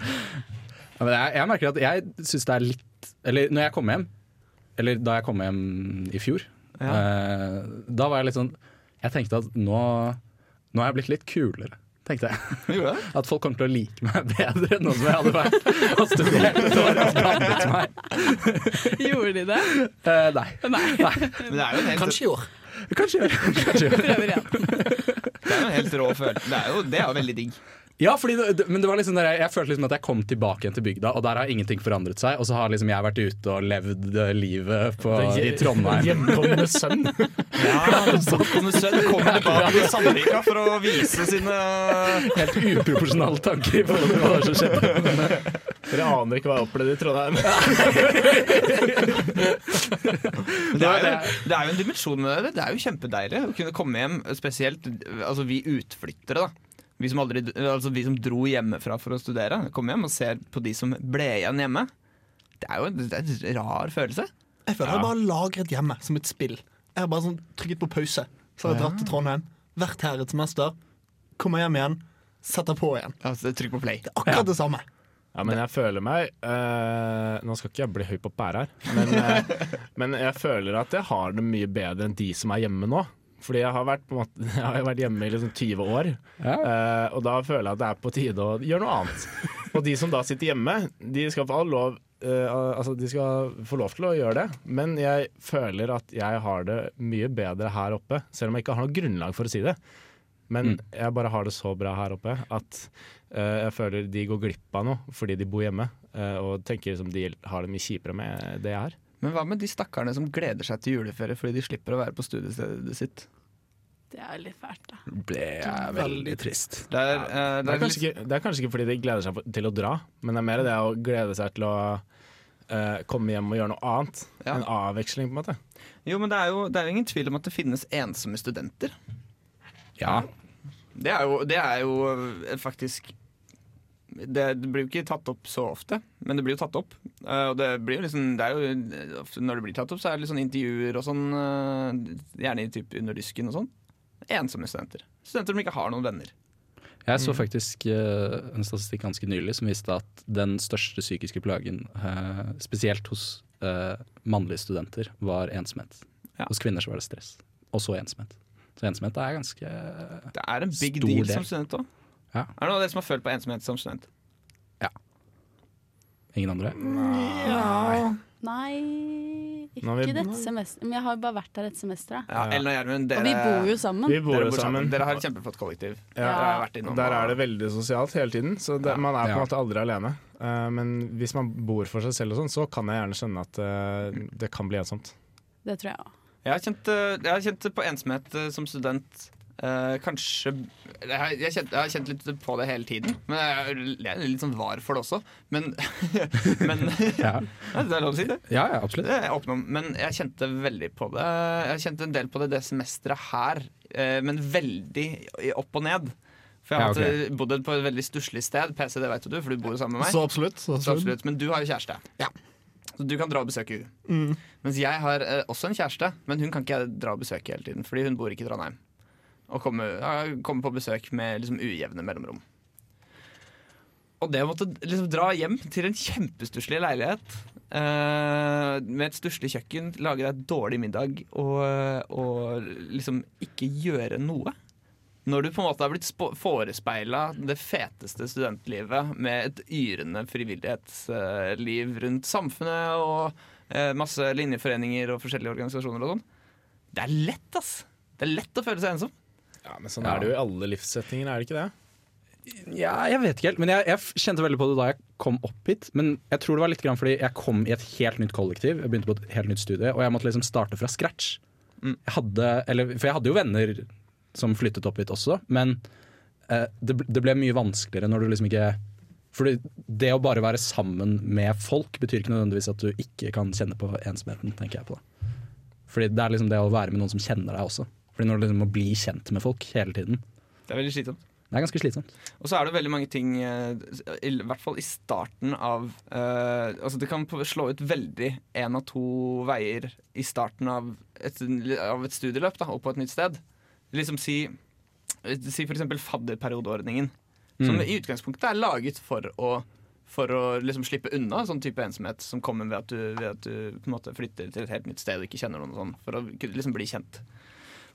D: Ja, men jeg, jeg merker at jeg syns det er litt Eller når jeg kom hjem, eller da jeg kom hjem i fjor, eh, da var jeg litt sånn Jeg tenkte at nå Nå er jeg blitt litt kulere, tenkte jeg.
B: Gjorde det?
D: At folk kommer til å like meg bedre nå som jeg hadde vært og studert et år og skadet meg.
E: Gjorde de det?
D: Eh, nei.
E: Nei,
B: Men det er jo en helt,
F: Kanskje i år.
D: Kanskje. Kanskje.
E: prøver igjen.
B: det er jo en helt rå følelse. Det er jo, det er jo veldig digg.
D: Ja, fordi det, det, men det var liksom der jeg, jeg følte liksom at jeg kom tilbake igjen til bygda, og der har ingenting forandret seg. Og så har liksom jeg vært ute og levd eh, livet på, i Trondheim.
C: Hjemkomne sønn.
B: Ja, Bortkomne sønn kommer tilbake til Sandvika for å vise sine
D: Helt uproporsjonale tanker i forhold til hva som skjedde.
C: Dere aner ikke hva jeg opplevde i Trondheim.
B: Det er jo, det er jo en dimensjon med det. Det er jo kjempedeilig å kunne komme hjem, spesielt altså, vi utflyttere. da vi som, aldri, altså vi som dro hjemmefra for å studere, kommer hjem og ser på de som ble igjen hjemme. Det er jo en, det er en rar følelse.
F: Jeg føler jeg bare har lagret hjemme som et spill. Jeg har bare sånn trykket på pause. Så har jeg dratt til Trondheim, vært her et semester, kommer hjem igjen, setter på igjen.
B: Altså, trykk på play.
F: Det er akkurat det samme.
C: Ja, men jeg føler meg eh, Nå skal ikke jeg bli høy på pæra her, men, eh, men jeg føler at jeg har det mye bedre enn de som er hjemme nå. Fordi jeg har vært, på en måte, jeg har jo vært hjemme i liksom 20 år, eh, og da føler jeg at det er på tide å gjøre noe annet. Og de som da sitter hjemme, de skal få all lov eh, altså De skal få lov til å gjøre det, men jeg føler at jeg har det mye bedre her oppe, selv om jeg ikke har noe grunnlag for å si det. Men jeg bare har det så bra her oppe at eh, jeg føler de går glipp av noe fordi de bor hjemme. eh, og tenker liksom de har det mye kjipere med det jeg har.
B: Men hva med de stakkarene som gleder seg til juleferie fordi de slipper å være på studiestedet sitt?
E: Det er litt fælt, da.
D: Det er veldig trist.
B: Det er, eh,
C: Det
B: det
C: er,
B: er
C: kanskje
B: litt,
C: ikke, det er kanskje ikke fordi de gleder seg for- til å dra, men det er mer det å glede seg til å eh, komme hjem og gjøre noe annet.
B: Ja.
C: En avveksling, på en måte.
B: jo, men det er jo, det er jo ingen tvil om at det finnes ensomme studenter.
D: Ja.
B: Det er jo, det er jo eh, faktisk det, det blir jo ikke tatt opp så ofte, men det blir jo tatt opp. Eh, og det, blir jo liksom, det er jo ofte Når det blir tatt opp, så er det litt sånn intervjuer og sånn. eh, gjerne i typ under lysken og sånn. Ensomme studenter. Studenter som ikke har noen venner.
D: Jeg så faktisk eh, en statistikk ganske nylig som viste at den største psykiske plagen, eh, spesielt hos eh, mannlige studenter, var ensomhet.
B: Ja.
D: Hos kvinner så var det stress. Og så ensomhet. Så ensomhet er ganske
B: Det er en big
D: Stor
B: deal
D: del.
B: som student òg.
D: Ja.
B: Er det noen av dere som har følt på ensomhet som student?
D: Ingen andre?
E: Nei,
C: Nå har
E: ikke
C: vi-
E: dette semesteret. Men jeg har jo bare vært her et semester, da.
B: Ja, Ellen og Gjermund, dere,
E: Og vi bor jo sammen.
C: Vi bor
B: dere,
C: jo sammen.
B: dere har et kjempeflott kollektiv.
C: Ja.
B: Dere har vært innom
C: Der
B: og-
C: er det veldig sosialt hele tiden, så det, man er på en
D: Ja.
C: måte aldri alene. Eh, men hvis man bor for seg selv, og sånn, så kan jeg gjerne skjønne at eh, det kan bli ensomt.
E: Det tror jeg òg.
B: Jeg har kjent, eh, jeg har kjent på ensomhet eh, som student Eh, kanskje jeg har, jeg, har kjent, jeg har kjent litt på det hele tiden. Men jeg, er- jeg er litt sånn var for det også. Men, men
D: Ja,
B: Ja, Det er lov å si det.
D: ja, ja absolutt.
B: Det er jeg åpen om. Men jeg kjente veldig på det. Jeg kjente en del på det det semesteret her, eh, men veldig i- opp og ned. For jeg
D: Ja,
B: har hatt,
D: ok.
B: eh, bodd på et veldig stusslig sted. PC, det vet jo du, for du bor jo sammen med meg.
F: Så absolutt. Så
B: Så
F: absolutt.
B: absolutt. Men du har jo kjæreste.
F: Ja.
B: Så du kan dra og besøke henne.
F: Mm.
B: Mens jeg har eh, også en kjæreste, men hun kan ikke jeg dra og besøke hele tiden. Fordi hun bor ikke i Trondheim. Og kommer, ja, kommer på besøk med liksom ujevne mellomrom. Og det å måtte liksom dra hjem til en kjempestusslig leilighet eh, med et stusslig kjøkken, lage deg et dårlig middag og, og liksom ikke gjøre noe når du på en måte har blitt forespeila det feteste studentlivet med et yrende frivillighetsliv rundt samfunnet og eh, masse linjeforeninger og forskjellige organisasjoner og sånn. Det er lett, ass! Det er lett å føle seg ensom.
C: Ja, men sånn er det jo i alle livssetninger, er det ikke det?
D: Ja, jeg vet ikke helt, men jeg, jeg f- kjente veldig på det da jeg kom opp hit. Men jeg tror det var litt grann fordi jeg kom i et helt nytt kollektiv. Jeg begynte på et helt nytt studie, og jeg måtte liksom starte fra scratch.
B: Mm.
D: Jeg hadde, eller, for jeg hadde jo venner som flyttet opp hit også, men eh, det, bl- det ble mye vanskeligere når du liksom ikke Fordi det å bare være sammen med folk betyr ikke nødvendigvis at du ikke kan kjenne på ensomheten, tenker jeg på. da Fordi det er liksom det å være med noen som kjenner deg også. Fordi når du liksom må bli kjent med folk hele tiden,
B: Det er veldig slitsomt.
D: det er ganske slitsomt.
B: Og så er det veldig mange ting, eh, i hvert fall i starten av eh, Altså det kan på- slå ut veldig én av to veier i starten av et, av et studieløp da, og på et nytt sted. Liksom si, eh, si for eksempel fadderperiodeordningen, som
D: Mm.
B: i utgangspunktet er laget for å for å liksom slippe unna sånn type ensomhet som kommer ved at du, ved at du på en måte flytter til et helt nytt sted og ikke kjenner noen. og Sånn, for å kunne liksom bli kjent.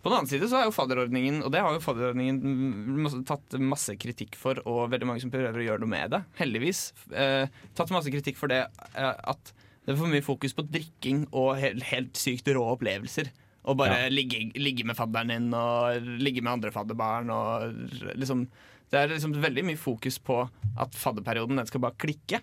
B: På den annen side så er jo fadderordningen, og det har jo fadderordningen mm, masse- tatt masse kritikk for, og veldig mange som prøver å gjøre noe med det, heldigvis. Eh, tatt masse kritikk for det eh, at det er for mye fokus på drikking og helt, helt sykt rå opplevelser. Og bare ligge, ligge med fadderen din og ligge med andre fadderbarn og liksom Det er liksom veldig mye fokus på at fadderperioden, den skal bare klikke.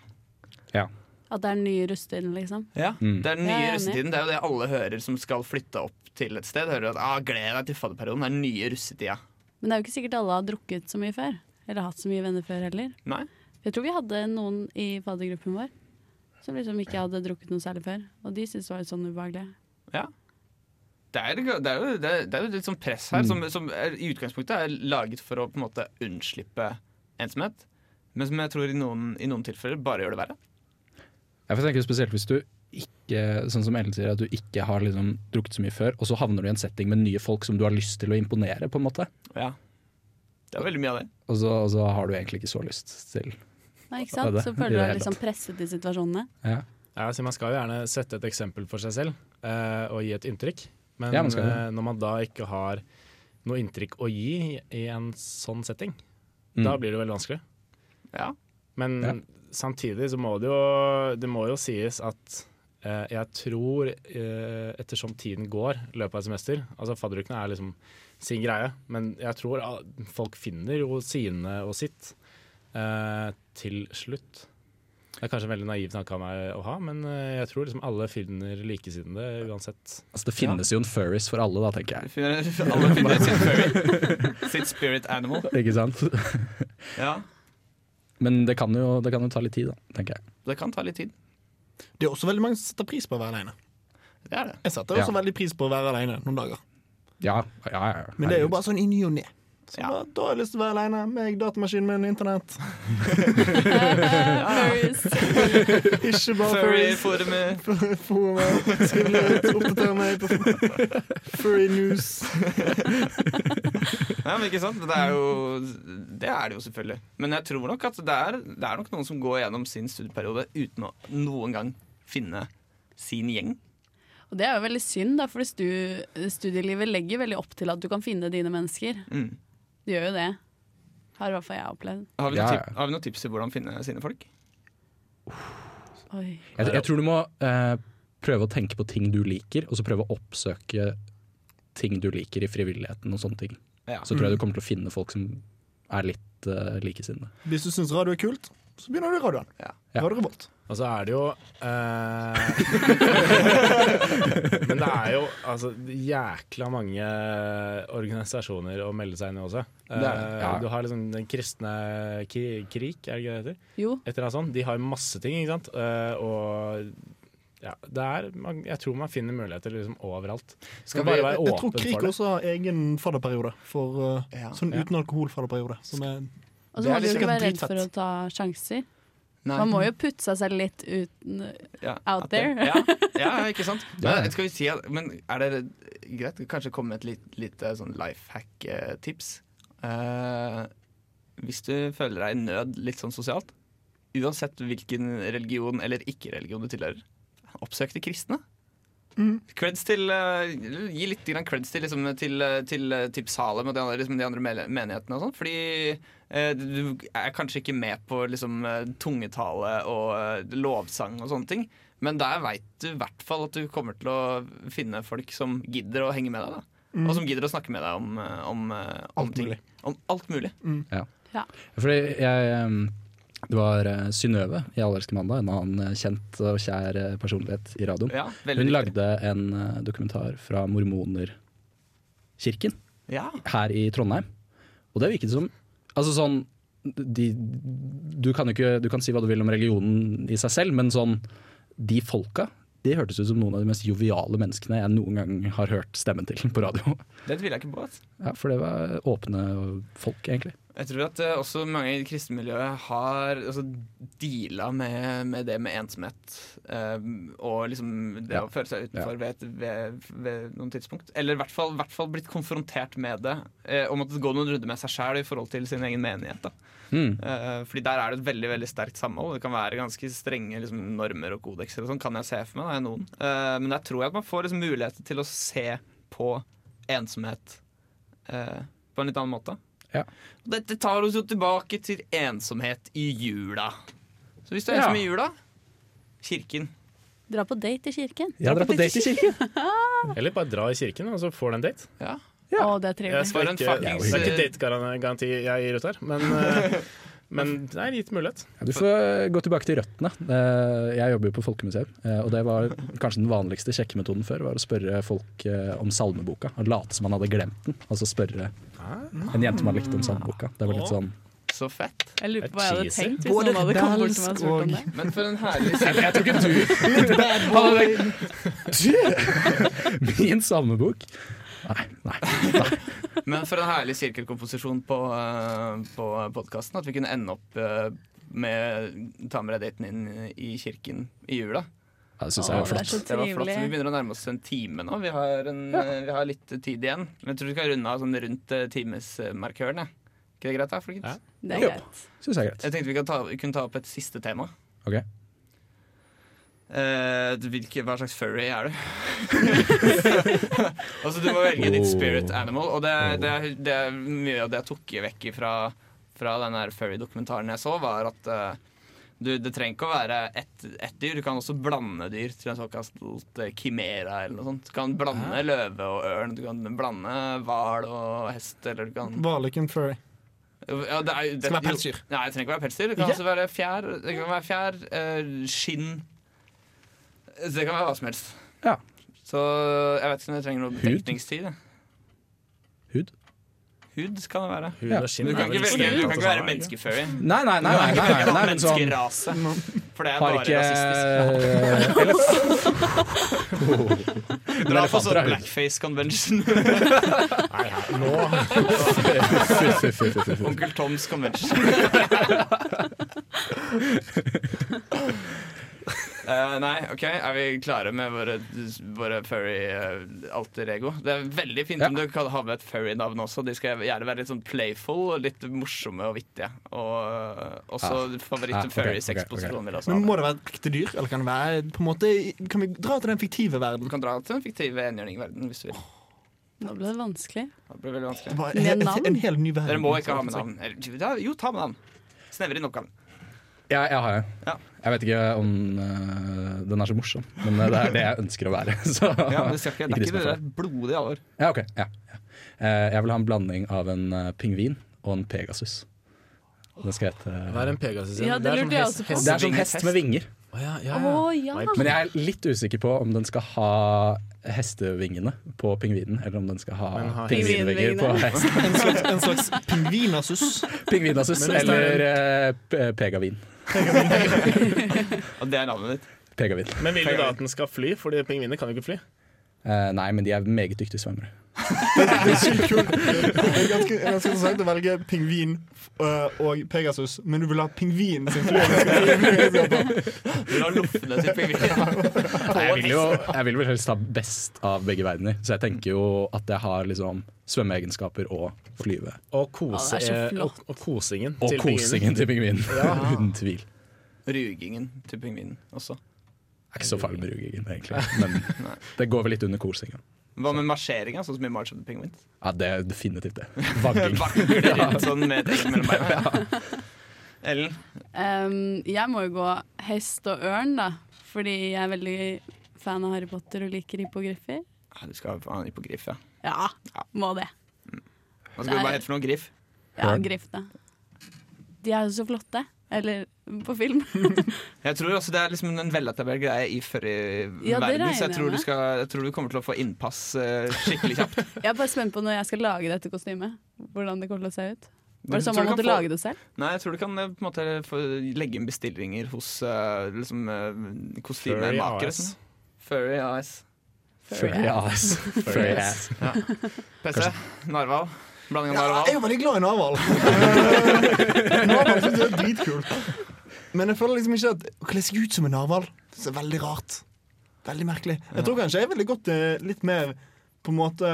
E: At det er ny rustin, liksom.
B: Ja,
D: Mm.
B: Det er den
E: Ja, jeg
B: nye
E: er enig.
B: russetiden. Det er jo det alle hører som skal flytte opp til et sted. Hører at ah, 'gled deg til fadderperioden', det er den nye russetida.
E: Men det er jo ikke sikkert alle har drukket så mye før. Eller hatt så mye venner før heller.
B: Nei.
E: Jeg tror vi hadde noen i faddergruppen vår som liksom ikke hadde drukket noe særlig før. Og de syntes det var litt sånn ubehagelig.
B: Det er, det, er jo, det, er, det er jo litt sånn press her som, som er, i utgangspunktet er laget for å på en måte unnslippe ensomhet. Men som jeg tror i noen, i noen tilfeller bare gjør det verre.
D: Jeg får tenke spesielt hvis du ikke, sånn som Ellen sier, at du ikke har liksom drukket så mye før, og så havner du i en setting med nye folk som du har lyst til å imponere, på en måte.
B: Ja. Det er veldig mye av det.
D: Og så, og så har du egentlig ikke så lyst til.
E: Nei, ikke
D: Ja,
E: sant?
D: det-
E: Så
D: i
E: føler
D: det
E: du
D: hele
E: deg liksom presset i situasjonene.
D: Ja.
C: Ja, altså man skal jo gjerne sette et eksempel for seg selv eh, og gi et inntrykk. Men
D: Ja, man skal det.
C: eh, når man da ikke har noe inntrykk å gi i- i en sånn setting,
D: Mm.
C: da blir det veldig vanskelig.
B: Ja.
C: Men
D: Ja.
C: samtidig så må det jo, det må jo sies at eh, jeg tror eh, ettersom tiden går i løpet av et semester Altså fadderukene er liksom sin greie, men jeg tror ah, folk finner jo sine og sitt eh, til slutt. Det er kanskje en veldig naiv tanke av meg å ha, men eh, jeg tror liksom alle finner likesinnede uansett.
D: Altså, det finnes jo en furries for alle, da, tenker jeg.
B: Alle finner sitt furry. Sitt spirit animal.
D: Ikke sant?
B: Ja.
D: Men det kan, jo, det kan jo ta litt tid, da, tenker jeg.
B: Det kan ta litt tid.
F: Det er også veldig mange som setter pris på å være alene.
B: Det er det.
F: Jeg setter også
D: Ja.
F: veldig pris på å være alene noen dager.
D: Ja, ja, ja, ja.
F: Men det er jo bare sånn i ny og ne. Så
B: Ja.
F: bare, da har jeg lyst til å være alene med datamaskinen min og internett.
E: Furries.
F: Ikke bare furries.
B: Furry-forumet.
F: Forumet. Skriv litt, oppdater meg på furry news.
B: Ja, men ikke sant? Det er, jo, det er det jo selvfølgelig. Men jeg tror nok at det er, det er nok noen som går gjennom sin studieperiode uten å noen gang finne sin gjeng.
E: Og det er jo veldig synd, da, for stu studielivet legger veldig opp til at du kan finne dine mennesker.
B: Mm.
E: Det gjør jo det. Har i hvert fall jeg opplevd.
B: Har, vi
D: Ja,
B: noen
D: ja.
B: tip, har vi noen tips til hvordan finne sine folk?
E: Oi.
D: Jeg, jeg tror du må eh, prøve å tenke på ting du liker, og så prøve å oppsøke ting du liker i frivilligheten og sånne ting.
B: Ja.
D: Så tror jeg du kommer til å finne folk som er litt eh, likesinnede.
F: Hvis du syns radio er kult, så begynner du i radioen.
B: Ja.
D: Ja.
F: Radiorobot.
C: Og så er det jo eh, Men det er jo altså, jækla mange organisasjoner å melde seg inn i også. Eh,
D: Det er- ja.
C: Du har liksom Den kristne ki krik, er det ikke det det heter?
E: Jo.
C: Et eller annet sånt. De har masse ting, ikke sant. Eh, og ja, det er, man, jeg tror man finner muligheter liksom overalt.
B: Skal vi-
C: Man bare være
F: Jeg tror
C: åpen
F: Krik
C: for det.
F: også har egen fadderperiode. For, uh,
B: Ja.
F: Sånn uten alkohol-fadderperiode. Som er
E: Og så
B: Det er
E: må du jo
B: litt
E: ikke
D: sånn
F: sikkert
E: være redd
F: dritfett.
E: for å ta sjanser.
B: Nei.
E: Man må jo putte seg selv litt uten
B: Ja,
E: out
B: at det-
E: there.
B: Ja, ja, ikke sant?
D: Ja.
B: Men, skal vi si at, men er det greit? Kanskje komme med et litt- lite sånn life hack-tips. hvis du føler deg i nød litt sånn sosialt, uansett hvilken religion eller ikke-religion du tilhører, oppsøk de kristne. Creds til, eh, gi litt grann creds til, liksom, til, eh, til eh, Tips Salem og de andre, liksom, de andre mele- menighetene og sånn. Fordi eh, du er kanskje ikke med på liksom, eh, tungetale og eh, lovsang og sånne ting. Men der veit du i hvert fall at du kommer til å finne folk som gidder å henge med deg. Da. Og som gidder å snakke med deg om, eh, om, eh, om
F: Alt
B: ting.
F: mulig.
B: Om alt mulig.
D: Fordi jeg ehm, Det var eh, Synnøve i Allerske mandag, en annen eh, kjent og kjær eh, personlighet i radioen.
B: Ja, veldig
D: Hun
B: riktig.
D: lagde en eh, dokumentar fra mormonerkirken
B: Ja.
D: her i Trondheim. Og det virket som Altså sånn de, du, kan jo ikke, du kan si hva du vil om religionen i seg selv, men sånn De folka de hørtes ut som noen av de mest joviale menneskene jeg noen gang har hørt stemmen til på radio.
B: Det tviler jeg ikke på. ass.
D: Ja, For det var åpne folk, egentlig.
B: Jeg tror at eh, også mange i det kristne miljøet har altså, deala med, med det med ensomhet. eh, og liksom det
D: Ja.
B: å føle seg utenfor ved, et, ved, ved noen tidspunkt. Eller i hvert fall, hvert fall blitt konfrontert med det. eh, og måttet gå noen runder med seg sjæl i forhold til sin egen menighet. Da.
D: Mm.
B: Eh, fordi der er det et veldig veldig sterkt samhold. Det kan være ganske strenge liksom, normer og kodekser. og sånn, kan jeg se for meg, da, i noen. Eh, men der tror jeg at man får liksom, mulighet til å se på ensomhet eh, på en litt annen måte.
D: Ja.
B: Og Dette tar oss jo tilbake til ensomhet i jula. Så hvis du er
D: Ja.
B: ensom i jula kirken.
E: Dra på date i kirken.
D: Jeg drar på date i kirken!
C: Eller bare dra i kirken, og så får du en date.
B: Ja.
D: Ja.
E: Å, det er
C: Jeg
E: trivelig.
C: skal
B: For en
C: ikke, det
B: fuckings-
C: er ikke dategaranti jeg gir ut her, men, eh, men det er gitt mulighet.
D: Ja, Du får gå tilbake til røttene. Eh, Jeg jobber jo på Folkemuseum, eh, og det var kanskje den vanligste sjekkemetoden før, var å spørre folk eh, om salmeboka, og late som man hadde glemt den, og så spørre en jente man likte om salmeboka. Det var litt sånn
B: Så fett.
E: Jeg lurer på hva jeg hadde
C: Cheesy.
E: tenkt hvis noen hadde kommet bort til meg og spurt om det.
B: Men for en herlig
D: Jeg tror ikke du Min salmebok? Nei, nei.
B: Men for en herlig sirkelkomposisjon på, eh, på podkasten. At vi kunne ende opp eh, med ta med deg daten inn i kirken i jula.
D: Ja, Det syns
E: Å,
D: jeg
E: det er
D: var flott.
E: så
B: Det var flott.
E: trivelig.
B: Vi begynner å nærme oss en time nå. Vi har, en, eh, vi har litt tid igjen. Men jeg tror vi skal runde av sånn rundt eh, timesmarkøren. jeg. Ikke det greit, da, folkens?
C: Ja.
E: Det er
D: Jo.
E: greit.
D: Syns jeg er greit.
B: Jeg tenkte vi kan ta, kunne ta opp et siste tema.
D: Ok.
B: Eh, hvilke, hva slags furry er du? altså Du må velge ditt spirit animal. Og det, det, er, det er mye av det jeg tok vekk fra, fra den her furry-dokumentaren jeg så, var at eh, du, det trenger ikke å være ett ett dyr. Du kan også blande dyr til en såkalt eh, kimera eller noe sånt. Du kan blande løve og ørn, du kan blande hval og hest, eller du kan
F: Varliken Furry.
B: ja, det er, jo- det,
F: Skal være
B: jo-
F: pelsdyr.
B: Nei, det trenger ikke være pelsdyr. Det kan
F: Ikke?
B: også være fjær, det kan være fjær eh, skinn Så Det kan være hva som helst.
D: Ja.
B: Så jeg vet ikke om jeg trenger noe
D: Hud?
B: dekningstid. jeg.
D: Hud?
B: Hud kan det være.
C: Hud
D: Ja.
C: og skinn
B: Du
C: er
B: kan
C: vel
B: ikke,
C: ikke så
B: velge, du kan
C: mye annet å
B: ikke
C: ta
B: være
C: med,
B: menneskefurry.
D: Nei, nei, nei. nei, nei, nei, nei men sånn
B: Menneskerase. For det er
D: har
B: bare
D: ikke
B: rasistisk.
D: Oh.
B: Dra på
D: Elefanter
B: sånn
D: er hud.
B: blackface convention.
C: Nei, nei, nå
D: Fy, fy, fy, fy, fy, fy.
B: Onkel Toms convention. Eh, nei, ok, er vi klare med våre, våre furry eh, alter ego? Det er veldig fint om
D: Ja.
B: du kan ha med et furry-navn også. De skal gjerne være litt sånn playful og litt morsomme og vittige. Og eh, også
D: Ja,
B: favoritt
D: ok,
B: furry altså.
D: ok,
B: sexposisjon vil jeg også
F: Men
B: ha.
F: Må det være et ekte dyr? Eller kan, det være, på en måte, kan vi dra til den fiktive
B: Du
F: verden?
B: kan dra til den fiktive enhjørningverdenen hvis du vil.
E: Nå ble det vanskelig.
B: Det blir veldig vanskelig.
F: Bare
E: Med
F: en,
E: navn?
F: en helt ny verden.
B: Dere må ikke ha med navn. Eller, ja, Jo, ta med navn. Snevre inn oppgaven.
D: Ja, jeg har en.
B: Ja.
D: Jeg vet ikke om øh, den er så morsom, men øh, det er det jeg ønsker å være. Så,
B: Ja, men det, skal ikke, det er
D: dis
B: ikke det
D: meg for det.
B: der blodig alvor.
D: Ja, eh, ok. Ja, ja. Eh, Jeg vil ha en blanding av en øh, pingvin og en pegasus. Den skal hete
C: Hva er en pegasus?
E: Ja, det
C: er
E: lurte
C: sånn
E: jeg
C: hest-
E: også på.
C: hest-
D: Det er sånn hest med vinger.
C: Å, ja,
E: Å
C: ja, ja.
E: ja!
D: Men jeg er litt usikker på om den skal ha hestevingene på pingvinen, eller om den skal ha
C: Men ha
D: pingvinvinger på hesten.
F: En slags, en slags pingvinasus.
D: Pingvinasus
C: Men hvis det er
D: eller eh, pe- pegavin.
B: Og det er navnet ditt.
D: Pegavin.
G: Men vil du da at den skal fly? Fordi pingviner kan jo ikke fly.
D: Eh, nei, men de er meget dyktige svømmere.
F: Det er sykt kult. Det er ganske, det er ganske interessant å velge pingvin øh, og Pegasus, men du vil ha pingvin sin flyvende.
B: Du har loffene til pingvinen.
D: Nei, jeg, vil jo, jeg vil vel helst ha best av begge verdener, så jeg tenker jo at jeg har liksom svømmeegenskaper og flyve.
C: Og, kose,
E: Å, det er så
C: eh,
E: flott.
C: og, og kosingen
D: Og
C: til pingvinen.
D: kosingen til pingvinen. Uten tvil. Det
B: Rugingen til pingvinen også.
D: er ikke så farlig med rugingen, egentlig, men det går vel litt under kosingen.
B: Hva med marsjeringa, sånn som i March of the Penguins?
D: Ja, det er definitivt det. Vagging.
B: Vakker det rundt sånn med et egg mellom beina? Ellen,
E: Ehm, jeg må jo gå hest og ørn, da. Fordi jeg er veldig fan av Harry Potter og liker hippogriffer.
B: ah, du skal ha en hippogriff, ja.
E: Ja,
B: Ja.
E: må det.
B: Hva skal du bare hete for noe griff?
E: Ja,
D: Ørn.
E: griff, da. De er jo så flotte. Eller på film.
B: Jeg tror også Det er liksom en veletablert greie i furryverden,
E: Ja, det
B: verden så
E: regner jeg
B: jeg tror, du
E: med.
B: skal, jeg tror du kommer til å få innpass eh, skikkelig kjapt.
E: Jeg er bare spent på når jeg skal lage dette kostymet. Hvordan det kommer til å se ut. Var
B: Men
E: det sånn
B: tror
E: man
B: du kan
E: måtte
B: få-
E: lage det selv?
B: Nei, jeg tror du kan eh, på en måte få legge inn bestillinger hos eh, liksom, eh,
C: Furry
B: kostymemakere.
C: AS.
B: sånn. Furry AS.
D: Furry ass. Furry ass.
B: PC, Narval. Blanding av
F: Ja, jeg
B: Narval.
F: er veldig glad i Narvald. Narvald synes jeg er dritkult. Men jeg føler liksom ikke at å kle seg ut som en narvald Det er veldig rart. Veldig merkelig. Jeg tror kanskje jeg er veldig godt eh, litt mer på en måte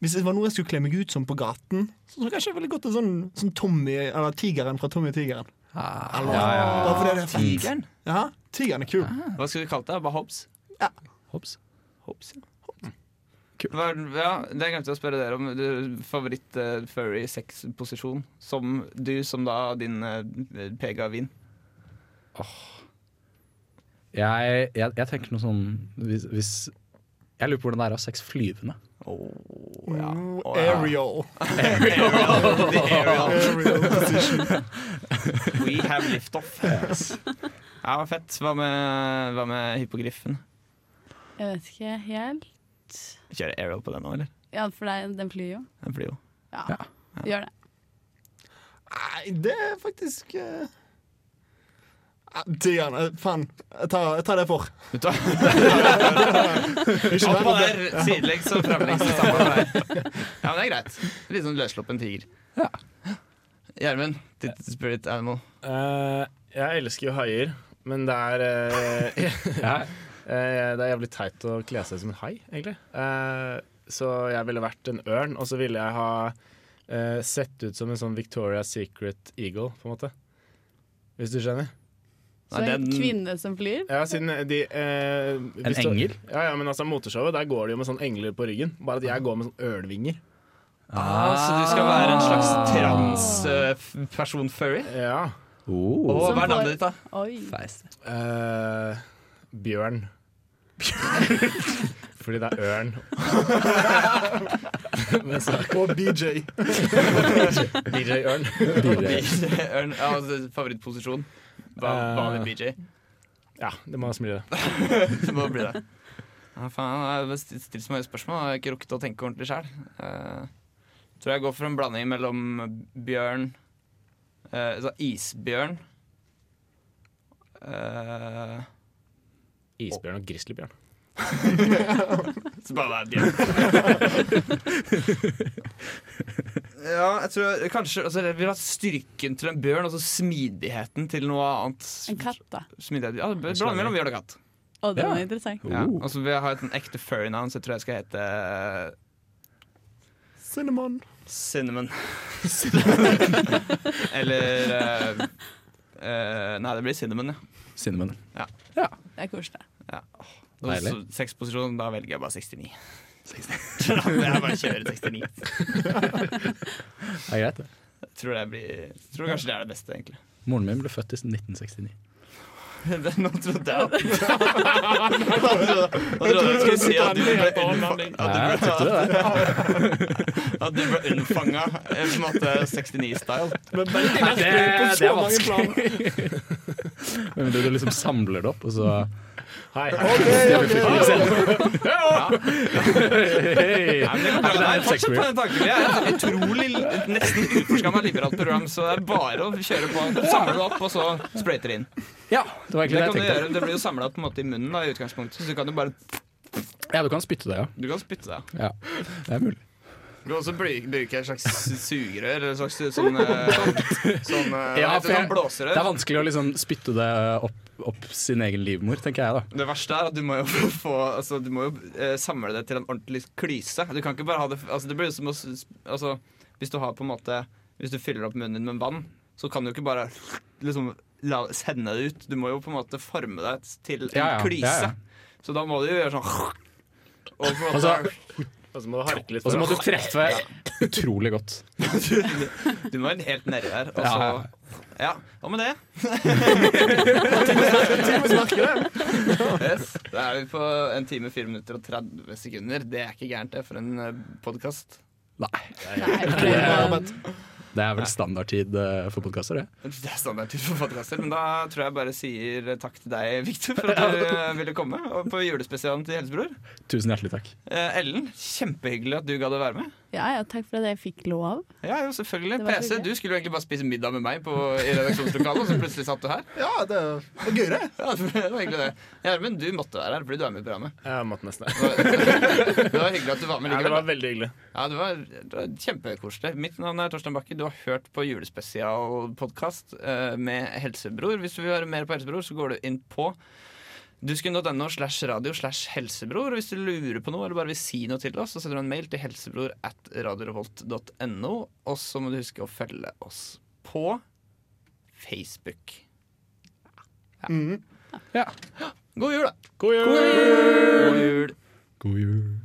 F: Hvis det var noe jeg skulle kle meg ut som på gaten, så tror jeg kanskje jeg er veldig godt til sånn, sånn Tommy, eller Tigeren fra Tommy og Tigeren.
D: Ah,
F: Eller, Bare fordi det er fint.
B: Tigeren.
F: Ja, Tigeren er kul.
B: Hva skulle vi kalt det? Bare Hobbs?
D: hops.
B: Hobbs, ja. Hva, ja, det glemte jeg å spørre dere om. Du, favoritt eh, furry sexposisjon som du, som da din eh, pegavin.
D: Jeg, jeg, jeg tenker noe sånn hvis, hvis Jeg lurer på hvordan det er å ha sex flyvende.
B: Oh,
F: Ooh,
B: Å, ja.
F: Mm, Ariel.
B: Ariel, the Ariel.
F: Ariel position.
B: We have liftoff. Ja, men fett. Hva med, hva med hypogriffen?
E: Jeg vet ikke helt.
B: Kjøre Ariel på den nå, eller?
E: Ja, for det, den flyr jo.
B: Den blir jo
E: Ja, gjør det.
F: Nei, det er faktisk eh, ah, Tigeren. eh, Faen. Jeg tar, jeg tar det for.
B: Vet du hva?
F: Ikke
B: Opp og
F: mer.
B: der, sidelengs og fremlengs. det samme der. Ja, men det er greit. Litt sånn løssluppen tiger. Gjermund, ditt spirit animal.
C: Eh, jeg elsker jo haier, men det er eh,
D: Jeg,
C: eh, Det er jævlig teit å kle seg som en hai, egentlig. Eh, så jeg ville vært en ørn, og så ville jeg ha eh, sett ut som en sånn Victoria's Secret Eagle, på en måte. Hvis du skjønner?
E: Så
B: Nei,
E: en
B: den-
E: kvinne som flyr?
C: Ja, siden de eh,
D: en
C: hvis du-
D: engel?
C: Ja, ja, men altså moteshowet, der går det jo med sånn engler på ryggen. Bare at jeg går med sånn ørnvinger.
B: Ah, så du skal være en slags transperson-furry?
C: Ja.
D: Oh.
B: Og
E: Som
B: hva er
E: får-
B: navnet ditt, da?
E: Oi.
C: Eh, bjørn. Fordi det er ørn.
F: Og BJ.
C: DJ Ørn.
B: Ørn, ja, altså, favorittposisjon? Hva, hva
E: Eh,
B: vil BJ?
C: Ja, det må smile.
B: Det må bli det. Ja, faen, jeg har stilt stilt så mange spørsmål, jeg har ikke rukket å tenke ordentlig sjøl. tror jeg går for en blanding mellom bjørn eh, altså Isbjørn. Eh,
C: Isbjørn og grizzlybjørn.
B: så bare det er bjørn. ja, jeg tror kanskje altså, Jeg vil ha styrken til en bjørn, og så smidigheten til noe annet.
E: En katt, da.
B: Smidighet. Ja, blanding mellom bjørn og katt.
E: Å, den
D: Ja.
E: var interessant.
B: Ja.
D: Oh,
B: Og så vil jeg ha et sånn ekte furry-navn, så jeg tror jeg skal hete
F: Cinnamon.
B: Cinnamon. Eller eh, eh, Nei, det blir cinnamon, ja.
D: Cinnamon.
E: Det er koselig.
B: Og
D: Deilig.
B: så Sexposisjon, da velger jeg bare 69. Da vil jeg bare kjøre 69.
D: Det er greit, det.
B: Tror, det blir, tror kanskje det er det beste, egentlig.
D: Moren min ble født i 1969.
B: Det- Nå trodde jeg at Nå trodde jeg- nå trodde jeg du skulle si at du ble unnfanga
D: Ja, jeg tenkte det, det.
B: At du ble unnfanga eh, på en måte 69-style.
F: Men Bendik
D: Nei, det,
F: på så
D: det er
F: mange plan.
D: vanskelig. Men du, du liksom samler det opp, og så
C: Hei.
D: Hei!
B: Nei, men det går bra. Nei, Fortsett på den tanken. Vi er et utrolig nesten utforskamma liberalt program, så det er bare å kjøre på. Samle det opp, og så sprøyte det inn.
D: Ja, det var
B: Det, kan du
D: egentlig det jeg tenkte.
B: gjøre, det blir jo samla på en måte i munnen da, i utgangspunktet, så du kan jo bare
D: Ja, du kan spytte det, ja.
B: Du kan spytte deg.
D: ja. Det er mulig.
B: Du kan også bru- bruke et slags sugerør, eller et slags sånn, eh, sånn, sånn, eh,
D: Ja,
B: hva heter
D: for
B: det,
D: jeg-
B: sånn blåserør.
D: Det er vanskelig å liksom spytte det opp, opp sin egen livmor, tenker jeg da.
B: Det verste er at du må jo få- få altså, Du må jo eh, samle det til en ordentlig klyse. Du kan ikke bare ha det altså, Det blir jo som å s- altså, Hvis du har på en måte Hvis du fyller opp munnen din med vann, så kan du ikke bare liksom la, sende det ut. Du må jo på en måte forme deg til en
D: Ja, ja,
B: klyse.
D: ja, ja.
B: Så da må du jo gjøre sånn Og på en måte
D: Altså-
G: Og så må du harke litt.
D: Og så må
G: for
D: du treffe utrolig godt.
B: du, du må være helt nedi der. Og
D: Ja,
B: så
D: ja,
B: Ja, hva med det? Yes. Da er vi på en time, 4 minutter og 30 sekunder. Det er ikke gærent, det, for en eh, podkast.
D: Nei,
E: Nei, for
D: det
E: det
D: er
E: var-
D: det er vel standardtid eh, for podkaster, det.
B: Det er standardtid for podkaster, men da tror jeg bare sier eh, takk til deg, Victor, for at du eh, ville komme og på julespesialen til Helsebror.
D: Tusen hjertelig takk.
B: Eh, Ellen, kjempehyggelig at du gadd å være med.
E: Ja, ja, takk for at jeg fikk lov.
B: Ja, jo, selvfølgelig.
E: Det var
B: PC,
E: hyggelig.
B: du skulle jo egentlig bare spise middag med meg på, i redaksjonslokalet, og så plutselig satt du her.
F: Ja, det var gøy, det.
B: Ja, det var hyggelig det. Gjermund, du måtte være her fordi du er med i programmet.
C: Jeg måtte nesten
B: Det var- Det var hyggelig at du var med
G: Ja, det
B: likevel.
G: var veldig hyggelig.
B: Ja, det var, det var kjempekoselig. Mitt navn er Torstein Bakke. Du har hørt på julespesialpodkast eh, med Helsebror. Hvis du vil høre mer på Helsebror, så går du inn på dusken.no slash radio slash helsebror. Og Hvis du lurer på noe eller bare vil si noe til oss, så sender du en mail til helsebror at radiorevolt.no. Og så må du huske å følge oss på Facebook.
D: Ja.
B: God jul, da!
G: Mm-hmm. God jul!
B: God jul.
D: God jul.